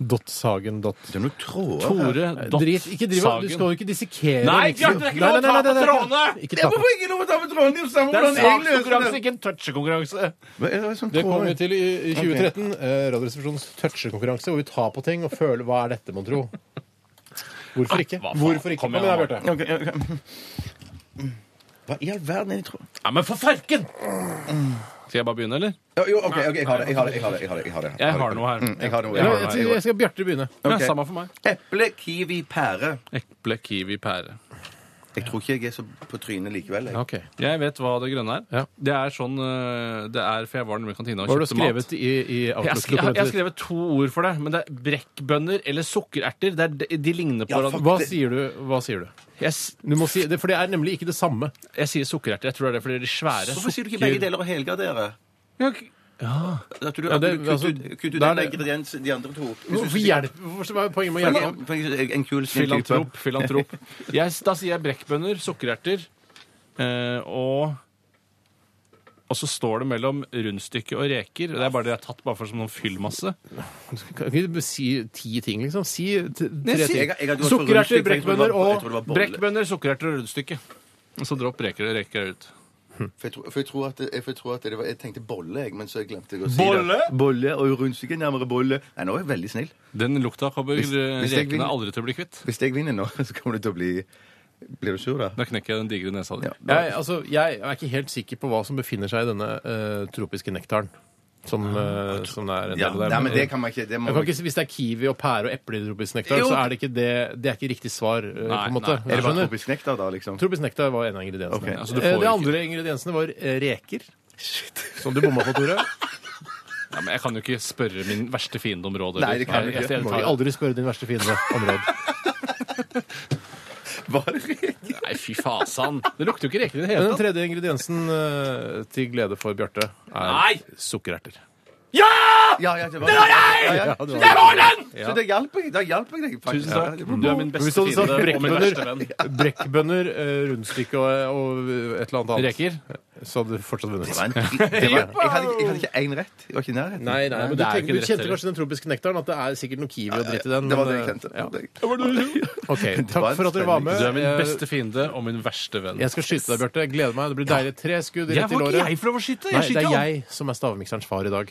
Speaker 1: Dottsagen. Dot.
Speaker 3: Det er noen tråder
Speaker 2: Tore
Speaker 1: Nei,
Speaker 2: dot
Speaker 1: Drit, ikke driv og- Du
Speaker 2: Sagen.
Speaker 1: skal jo ikke dissekere
Speaker 2: Nei,
Speaker 1: liksom.
Speaker 2: Bjarte, det er ikke lov
Speaker 1: Nei,
Speaker 2: å ta
Speaker 1: nei, nei, nei,
Speaker 2: på
Speaker 1: nei,
Speaker 2: trådene!
Speaker 1: Ikke
Speaker 3: Det er
Speaker 1: ta på
Speaker 3: hvorfor ikke lov å ta på tråden! Det er jo samme
Speaker 2: Det er en
Speaker 3: hvordan jeg løser
Speaker 2: sakskonkurranse,
Speaker 3: det.
Speaker 2: ikke en touchekonkurranse.
Speaker 3: Hva er det sånn som
Speaker 1: Det kommer
Speaker 3: kommer?
Speaker 1: vi til i i 2013. eh, Radioresepsjonens touchekonkurranse, hvor vi tar på ting og føler hva er dette, mon tro? Hvorfor ikke?
Speaker 2: hva faen?
Speaker 1: Hvorfor ikke?
Speaker 2: Kom
Speaker 1: Kom
Speaker 2: igjen,
Speaker 1: igjen, da,
Speaker 3: Ok,
Speaker 1: Bjarte.
Speaker 3: ok. Hva i all verden er det jeg tror?
Speaker 2: Ja, men for farken! Skal jeg bare begynne, eller?
Speaker 3: Jo, Jo, OK, ok, jeg har det. Jeg har det. Jeg har, det, jeg har, det, jeg har, det.
Speaker 2: Jeg har noe her.
Speaker 3: Mm, Jeg har noe.
Speaker 1: Jeg,
Speaker 3: Jeg
Speaker 1: jeg,
Speaker 3: har noe.
Speaker 1: jeg, jeg skal Bjarte begynne.
Speaker 2: Ja,
Speaker 3: Ok.
Speaker 2: samme for meg.
Speaker 3: Eple, kiwi, pære.
Speaker 2: Eple, kiwi, pære.
Speaker 3: Jeg tror ikke jeg er så på trynet likevel. Jeg.
Speaker 1: Ok.
Speaker 2: Jeg vet hva det grønne er.
Speaker 1: Ja.
Speaker 2: Det er sånn eh, det er, for jeg var nemlig i kantina og
Speaker 1: Hva har du
Speaker 2: kjøpte mat.
Speaker 1: skrevet i, i
Speaker 2: Jeg, sk- jeg, jeg har
Speaker 1: Outlook-dokumentet? ditt?
Speaker 2: skrevet to ord for det, men det er brekkbønner eller sukkererter. Det er, de, de ligner på hverandre.
Speaker 1: Hva sier du? Hva sier du?
Speaker 2: Jeg, s-
Speaker 1: du må si, det, for det er nemlig ikke det samme.
Speaker 2: jeg sier sukkererter. Jeg tror det er det fordi de er svære.
Speaker 3: Hvorfor sier du ikke begge deler og helgardere? At du,
Speaker 1: Ja,
Speaker 3: at du
Speaker 1: det-
Speaker 3: kutter
Speaker 1: altså,
Speaker 3: ut- kutter ut
Speaker 1: der
Speaker 3: en
Speaker 1: er-
Speaker 3: ingrediens de andre to. Hvis du
Speaker 1: Hvorfor
Speaker 3: sier-
Speaker 1: hjelp? Hvorfor, hva er poenget med å hjelpe?
Speaker 3: For eksempel En kul snill type.
Speaker 2: Filantrop. filantrop. Jeg, da sier jeg brekkbønner, sukkererter eh, og og så står det mellom rundstykke og reker. Det er bare det jeg har tatt bare for som noen fyllmasse.
Speaker 1: Kan ikke du si ti ting, liksom? Si t-
Speaker 2: Nei,
Speaker 1: tre
Speaker 2: si-
Speaker 1: ting.
Speaker 3: Jeg- jeg- jeg hadde gått for rundstykke, for jeg
Speaker 1: Sukkererter,
Speaker 3: trodde det
Speaker 1: brekkbønner
Speaker 3: var- jeg
Speaker 1: og
Speaker 3: trodde det var bolle.
Speaker 2: Brekkbønner, sukkererter og rundstykke. Og så dropp reker og reker ut.
Speaker 3: For jeg, tror, for jeg tror at, jeg, for jeg, tror at det var, jeg tenkte bolle, jeg, men så glemte jeg å si
Speaker 2: Bolle?
Speaker 3: det. Bolle og rundstykke nærmere bolle. Nei, nå er jeg veldig snill.
Speaker 2: Den lukta kommer eh,
Speaker 3: Hvis- hvis jeg
Speaker 2: rekene
Speaker 3: vil-
Speaker 2: aldri til å bli kvitt.
Speaker 3: Hvis jeg vinner nå, så kommer du til å bli Blir du sur, da?
Speaker 2: Da knekker jeg den digre nesa di.
Speaker 3: Ja.
Speaker 1: Jeg, altså, jeg er ikke helt sikker på hva som befinner seg i denne eh, tropiske nektaren. Som, eh, som det er en del
Speaker 3: Ja,
Speaker 1: av der.
Speaker 3: nei, men det kan man ikke det må
Speaker 1: Jeg
Speaker 3: man
Speaker 1: kan ikke, si- hvis det er kiwi og pære og eple i tropisk nektar,
Speaker 3: Jo.
Speaker 1: så er det ikke det Det er ikke riktig svar. eh,
Speaker 2: Nei,
Speaker 1: på en måte.
Speaker 2: nei.
Speaker 3: Er det bare
Speaker 1: Skjønner?
Speaker 3: tropisk nektar, da, liksom?
Speaker 1: Tropisk nektar var en av ingrediensene.
Speaker 3: Ok,
Speaker 2: altså du får
Speaker 1: Eh, de
Speaker 2: ikke-
Speaker 1: andre ingrediensene var eh, reker. Som du bomma på, Tore.
Speaker 2: Ja, men jeg kan jo ikke spørre min verste fiende om råd.
Speaker 3: Nei, det kan du
Speaker 2: jeg,
Speaker 3: ikke.
Speaker 2: jeg, jeg,
Speaker 1: Må
Speaker 2: tar-
Speaker 1: vi aldri spørre din verste fiende om råd.
Speaker 3: Var det riktig?
Speaker 2: Nei, fy fasan. Det lukter jo ikke reker i det
Speaker 1: Men
Speaker 2: hele
Speaker 1: den
Speaker 2: tatt.
Speaker 1: tredje ingrediensen eh, til glede for Bjarte er
Speaker 2: Nei!
Speaker 1: sukkererter.
Speaker 3: Ja, ja, det var jeg! Ja, ja.
Speaker 1: det var den!
Speaker 3: Så det hjalp jeg. Da hjalp jeg deg, faktisk.
Speaker 2: Tusen takk.
Speaker 3: Ja, det var
Speaker 2: Du er min
Speaker 1: Hvis
Speaker 2: beste
Speaker 1: du hadde sagt
Speaker 2: fiende og min verste venn.
Speaker 1: brekkbønner, brekkbønner eh, rundstykke og, og et eller annet annet
Speaker 2: Reker?
Speaker 1: så hadde du fortsatt vunnet.
Speaker 3: en- det var, jeg hadde jeg hadde ikke én rett. Jeg var ikke i nærheten.
Speaker 1: Nei, nei, men
Speaker 2: det
Speaker 1: du,
Speaker 2: er
Speaker 1: tenker,
Speaker 2: ikke
Speaker 1: du
Speaker 2: rett
Speaker 1: kjente
Speaker 2: heller.
Speaker 1: kanskje den tropiske nektaren, at det er sikkert noe kiwi og dritt i den.
Speaker 3: Det var det
Speaker 1: men, eh,
Speaker 3: jeg kjente.
Speaker 1: ja.
Speaker 3: Det-
Speaker 1: Ok,
Speaker 3: Det
Speaker 1: Takk
Speaker 3: var en
Speaker 1: for at dere var
Speaker 3: spenning.
Speaker 1: med.
Speaker 2: Du er min
Speaker 1: Eh,
Speaker 2: beste fiende og min verste venn.
Speaker 1: Jeg skal skyte deg, Bjarte. Jeg Gleder meg. Det blir deilig. Tre skudd rett i låret.
Speaker 2: få lov å skyte.
Speaker 1: Nei, det er jeg som er stavmikserens far i dag.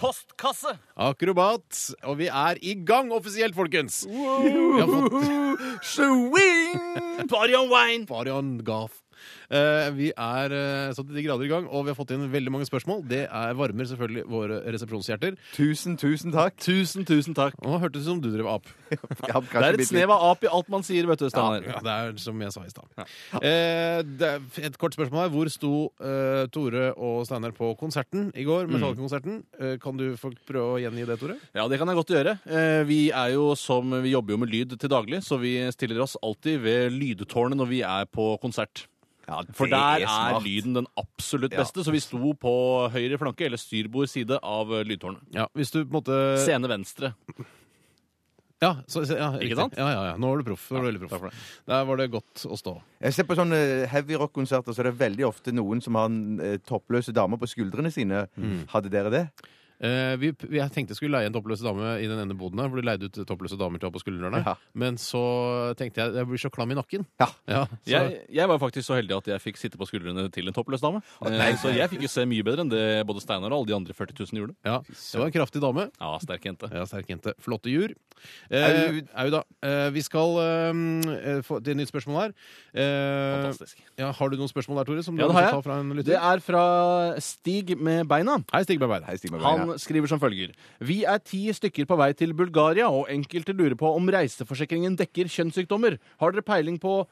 Speaker 25: postkasse.
Speaker 1: Akrobat. Og vi er i gang offisielt, folkens! Vi har fått
Speaker 25: Swing! Party on wine!
Speaker 1: Barion Gath. Eh, vi er eh, så til de grader i gang, og vi har fått inn veldig mange spørsmål. Det er varmer selvfølgelig våre resepsjonshjerter.
Speaker 3: Tusen, tusen takk.
Speaker 2: Tusen, tusen takk.
Speaker 1: Nå hørtes det ut som du drev ap.
Speaker 2: Det er et snev av ap i alt man sier, vet du, Steinar.
Speaker 1: Ja, det er som jeg sa i stad. Eh, det er et kort spørsmål her. Hvor sto eh, Tore og Steinar på konserten i går? Metallkonserten. Eh, kan du få prøve å gjengi det, Tore?
Speaker 2: Mm. Ja, det kan jeg godt gjøre. Eh, Vi, er jo som, vi jobber jo med lyd til daglig, så vi stiller oss alltid ved lydtårnet når vi er på konsert. Ja, For der er, lyden den absolutt beste, så vi sto på høyre flanke, eller styrbord side, av eh, lydtårnet.
Speaker 1: Ja, hvis du på en måte
Speaker 2: Scene venstre.
Speaker 1: Ja, så, ja, riktig.
Speaker 2: sant?
Speaker 1: Ja, ja, ja. Nå er du proff. Nå er du veldig proff. Der var det godt å stå.
Speaker 3: Jeg ser på sånne heavy rock-konserter, så er det veldig ofte noen som har en, eh, toppløse damer på skuldrene sine.
Speaker 1: Mm.
Speaker 3: Hadde dere det?
Speaker 1: Eh, vi, vi- jeg tenkte jeg skulle leie en toppløs dame i den ene boden her, hvor de leide ut toppløse damer til å ha på skuldrene.
Speaker 3: Ja.
Speaker 1: Men så tenkte jeg jeg blir så klam i nakken. så-
Speaker 2: Jeg, jeg var faktisk så heldig at jeg fikk sitte på skuldrene til en toppløs dame.
Speaker 1: nei.
Speaker 2: Eh, Så jeg fikk jo se mye bedre enn det både Steinar og alle de andre 40 000 gjorde.
Speaker 1: Ja, det var en kraftig dame.
Speaker 2: Ja, sterk jente.
Speaker 1: Ja, sterk jente. Flotte jur. Eh, Au, da. Eh, vi skal eh, få til et nytt spørsmål her. Eh,
Speaker 2: Fantastisk.
Speaker 1: Ja, har du noen spørsmål der, Tore? Som du
Speaker 2: Ja, det
Speaker 1: har
Speaker 2: har
Speaker 1: lyst til å ta fra en
Speaker 2: jeg.
Speaker 1: lytter?
Speaker 2: Det er fra Stig med beina.
Speaker 1: Hei, Stig med beina.
Speaker 2: Han skriver som følger. Vi er ti stykker på vei til Bulgaria, og enkelte lurer på om reiseforsikringen dekker kjønnssykdommer. Har dere peiling på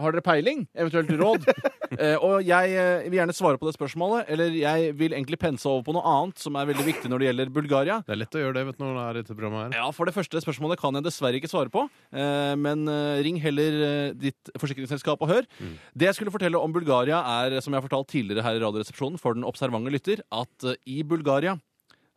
Speaker 2: har dere peiling? Eventuelt råd? eh, og jeg eh, vil gjerne svare på det spørsmålet, eller jeg vil egentlig pense over på noe annet som er veldig viktig når det gjelder Bulgaria.
Speaker 1: Det er lett å gjøre det vet du, når det er dette programmet her.
Speaker 2: Ja, For det første spørsmålet kan jeg dessverre ikke svare på. eh, Men eh, ring heller eh, ditt forsikringsselskap og hør. Det jeg skulle fortelle om Bulgaria, er, som jeg har fortalt tidligere her i Radioresepsjonen, for den observante lytter, at eh, i Bulgaria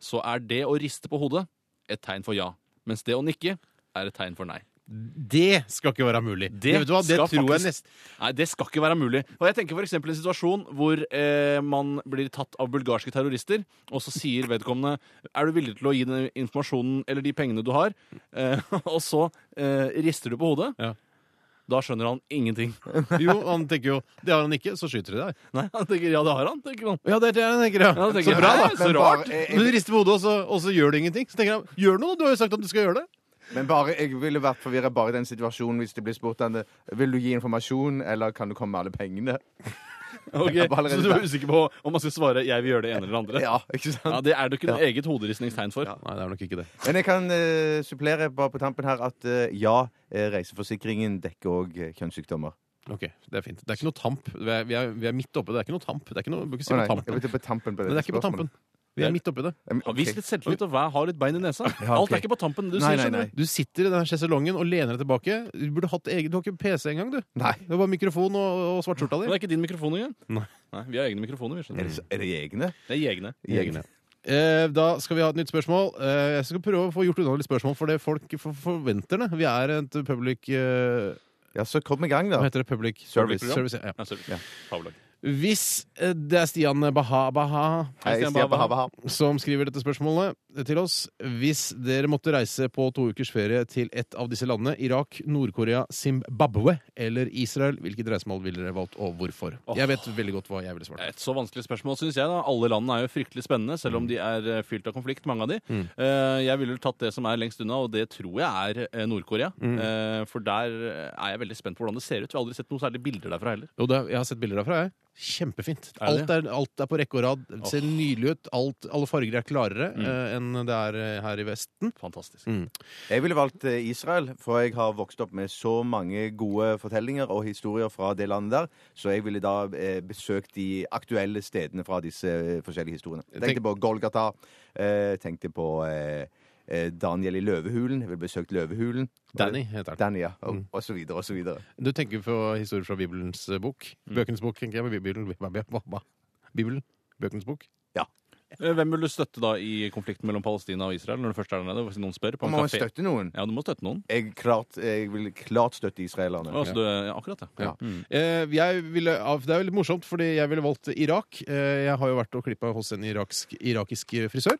Speaker 2: så er det å riste på hodet et tegn for ja. Mens det å nikke er et tegn for nei.
Speaker 1: Det skal ikke være mulig. Det, vet du hva, det
Speaker 2: skal
Speaker 1: tror jeg
Speaker 2: faktisk-
Speaker 1: nesten
Speaker 2: Nei, det skal ikke være mulig. Og jeg tenker for eksempel en situasjon hvor eh, man blir tatt av bulgarske terrorister, og så sier vedkommende Er du villig til å gi den informasjonen eller de pengene du har? Eh, og så eh, rister du på hodet. Da skjønner han ingenting.
Speaker 1: Jo, han tenker jo Det har han ikke, så skyter de deg.
Speaker 2: Nei, han tenker ja, det har han. tenker han.
Speaker 1: Ja, det er det han tenker, ja.
Speaker 2: Ja, det tenker
Speaker 1: så
Speaker 2: jeg.
Speaker 1: bra, da.
Speaker 2: Hæ? Så Men bare- rart.
Speaker 1: Men Du rister på hodet, og så, og så gjør du ingenting. Så tenker han gjør noe, du har jo sagt at du skal gjøre det.
Speaker 3: Men bare, jeg ville vært forvirra bare i den situasjonen hvis det blir spurt om det. Vil du gi informasjon, eller kan du komme med alle pengene?
Speaker 2: Ok,
Speaker 3: Jeg har allerede
Speaker 2: Så du er
Speaker 3: vært-
Speaker 2: usikker på om man skal svare 'jeg vil gjøre det ene eller det andre'?
Speaker 3: Ja, ikke sant?
Speaker 2: Ja, Det er det ikke noe
Speaker 3: Ja.
Speaker 2: eget hoderistningstegn for.
Speaker 1: Nei, det er nok ikke det.
Speaker 3: Men jeg kan eh, supplere bare på tampen her at eh, ja, eh, reiseforsikringen dekker òg kjønnssykdommer.
Speaker 1: Ok, Det er fint. Det er ikke noe tamp. Vi er, vi er, vi er midt oppe. Det er ikke noe tamp. Det er ikke noe, du bør ikke si
Speaker 3: Å,
Speaker 1: noe
Speaker 3: nei,
Speaker 1: tamp.
Speaker 3: jeg vet ikke på tampen på
Speaker 1: Men det er
Speaker 3: dette
Speaker 1: ikke på
Speaker 3: spørsmålet.
Speaker 1: tampen. Vi er midt oppi det.
Speaker 3: Ja, men-
Speaker 2: Vis litt selvtillit og vær- ha litt bein i nesa.
Speaker 1: Ja,
Speaker 2: Alt
Speaker 1: ok.
Speaker 2: er ikke på tampen. Du sier skjønner du.
Speaker 1: Du sitter i den her sjeselongen og lener deg tilbake. Du burde hatt egen, du har ikke PC engang, du. Nei. Det var bare mikrofon og, og svart skjorta
Speaker 2: Men
Speaker 1: di.
Speaker 2: det er ikke din mikrofon engang.
Speaker 1: Nei.
Speaker 2: vi har egne mikrofoner. vi skjønner.
Speaker 3: Er det egne?
Speaker 2: Det er jegerne.
Speaker 1: Jegerne. Eh, da skal vi ha et nytt spørsmål. Eh, jeg skal prøve å få gjort unna litt spørsmål, for det folk for forventer det. Vi er et public eh,
Speaker 3: Ja, så kom i gang, da.
Speaker 1: Hva heter det? Public
Speaker 3: Service.
Speaker 1: Service, ja.
Speaker 2: Nei, sorry. Faglag.
Speaker 1: Hvis eh, det er Stian Baha Baha
Speaker 3: Hei, Stian Baha Baha.
Speaker 1: som skriver dette spørsmålet til oss Hvis dere måtte reise på to ukers ferie til et av disse landene, Irak, Nord-Korea, Zimbabwe eller Israel, hvilket reisemål ville dere valgt, og hvorfor? Jeg vet veldig godt hva jeg ville svart.
Speaker 2: Et så vanskelig spørsmål, syns jeg. da. Alle landene er jo fryktelig spennende, selv om de er eh, fylt av konflikt, mange av de.
Speaker 1: Mm.
Speaker 2: Eh, Jeg ville tatt det som er lengst unna, og det tror jeg er eh, Nord-Korea.
Speaker 1: Mm.
Speaker 2: Eh, For der er jeg veldig spent på hvordan det ser ut. Vi har aldri sett noen særlig bilder derfra heller.
Speaker 1: Jo, det, jeg har sett bilder derfra, jeg. Kjempefint.
Speaker 2: Er det
Speaker 1: Alt er, alt er på rekke og rad. Det ser nydelig ut. Alt, alle farger er klarere eh, enn det er eh, her i Vesten.
Speaker 2: Fantastisk.
Speaker 3: Jeg ville valgt eh, Israel, for jeg har vokst opp med så mange gode fortellinger og historier fra det landet der, så jeg ville da eh, besøkt de aktuelle stedene fra disse eh, forskjellige historiene. Jeg tenkte på Golgata, eh, tenkte på eh, eh, Daniel i Løvehulen, jeg ville besøkt Løvehulen.
Speaker 1: Danny heter han.
Speaker 3: Danny, ja. Og, og så videre, og så videre.
Speaker 1: Du tenker på historier fra Bibelens eh, bok? Bøkenes bok, tenker jeg. men Bibelen, hva- hva- hva- Bibelen? Bøkenes bok?
Speaker 2: Eh, Hvem vil du støtte da i konflikten mellom Palestina og Israel, når du først er der nede? Hvis noen spør på en
Speaker 3: Man må
Speaker 2: kafé?
Speaker 3: støtte noen.
Speaker 2: Ja, du må støtte noen.
Speaker 3: Jeg, klart, jeg vil klart støtte israelerne.
Speaker 2: Ja, så du, ja, akkurat, ja.
Speaker 1: Ja. Eh, jeg ville, av- det er veldig morsomt, fordi jeg ville valgt Irak. Eh, jeg har jo vært og klippa hos en iraksk, irakisk frisør.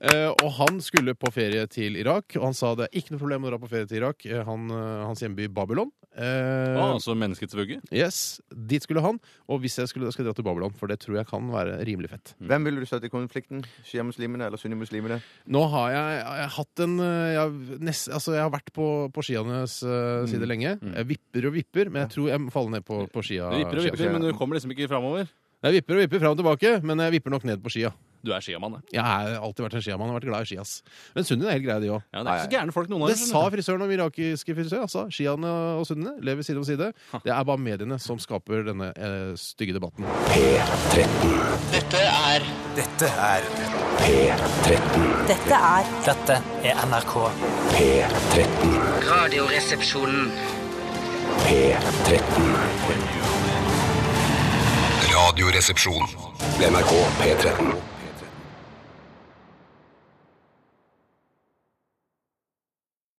Speaker 1: Eh, og han skulle på ferie til Irak, og han sa det er ikke noe problem å dra på ferie til Irak. Eh, han, eh, hans hjemby Babylon. Eh,
Speaker 2: Ah, altså menneskets vugge?
Speaker 1: Yes, Dit skulle han. Og hvis jeg skulle, da skal jeg dra til Babylon, for det tror jeg kan være rimelig fett.
Speaker 3: Hvem ville du støtte i konflikten? Shia-muslimene eller sunni-muslimene?
Speaker 1: Nå har jeg, jeg har hatt en eh, jeg, har nest, altså jeg har vært på, på skianes
Speaker 2: Mm.
Speaker 1: eh, side lenge. Jeg vipper og vipper, men jeg tror jeg faller ned på, på skia.
Speaker 2: Du vipper og vipper,
Speaker 1: skia-
Speaker 2: men du kommer liksom ikke framover.
Speaker 1: Jeg vipper og vipper fram og tilbake, men jeg vipper nok ned på skia.
Speaker 2: Du er skiamann, ja.
Speaker 1: Jeg har alltid vært en skiamann og vært glad i ski, ass. Men sunnien er helt grei, de òg.
Speaker 2: Ja, det er ikke så gærne folk noen av
Speaker 1: Det
Speaker 2: dem,
Speaker 1: sa
Speaker 2: skjønner du.
Speaker 1: frisøren om irakiske frisør. Altså, Shiaene og sunniene lever side om side. Det er bare mediene som skaper denne eh, stygge debatten.
Speaker 7: Dette er Dette er P13. Dette er Dette er NRK. P13. Radioresepsjonen. P13.
Speaker 26: Radioresepsjon.
Speaker 7: NRK P13.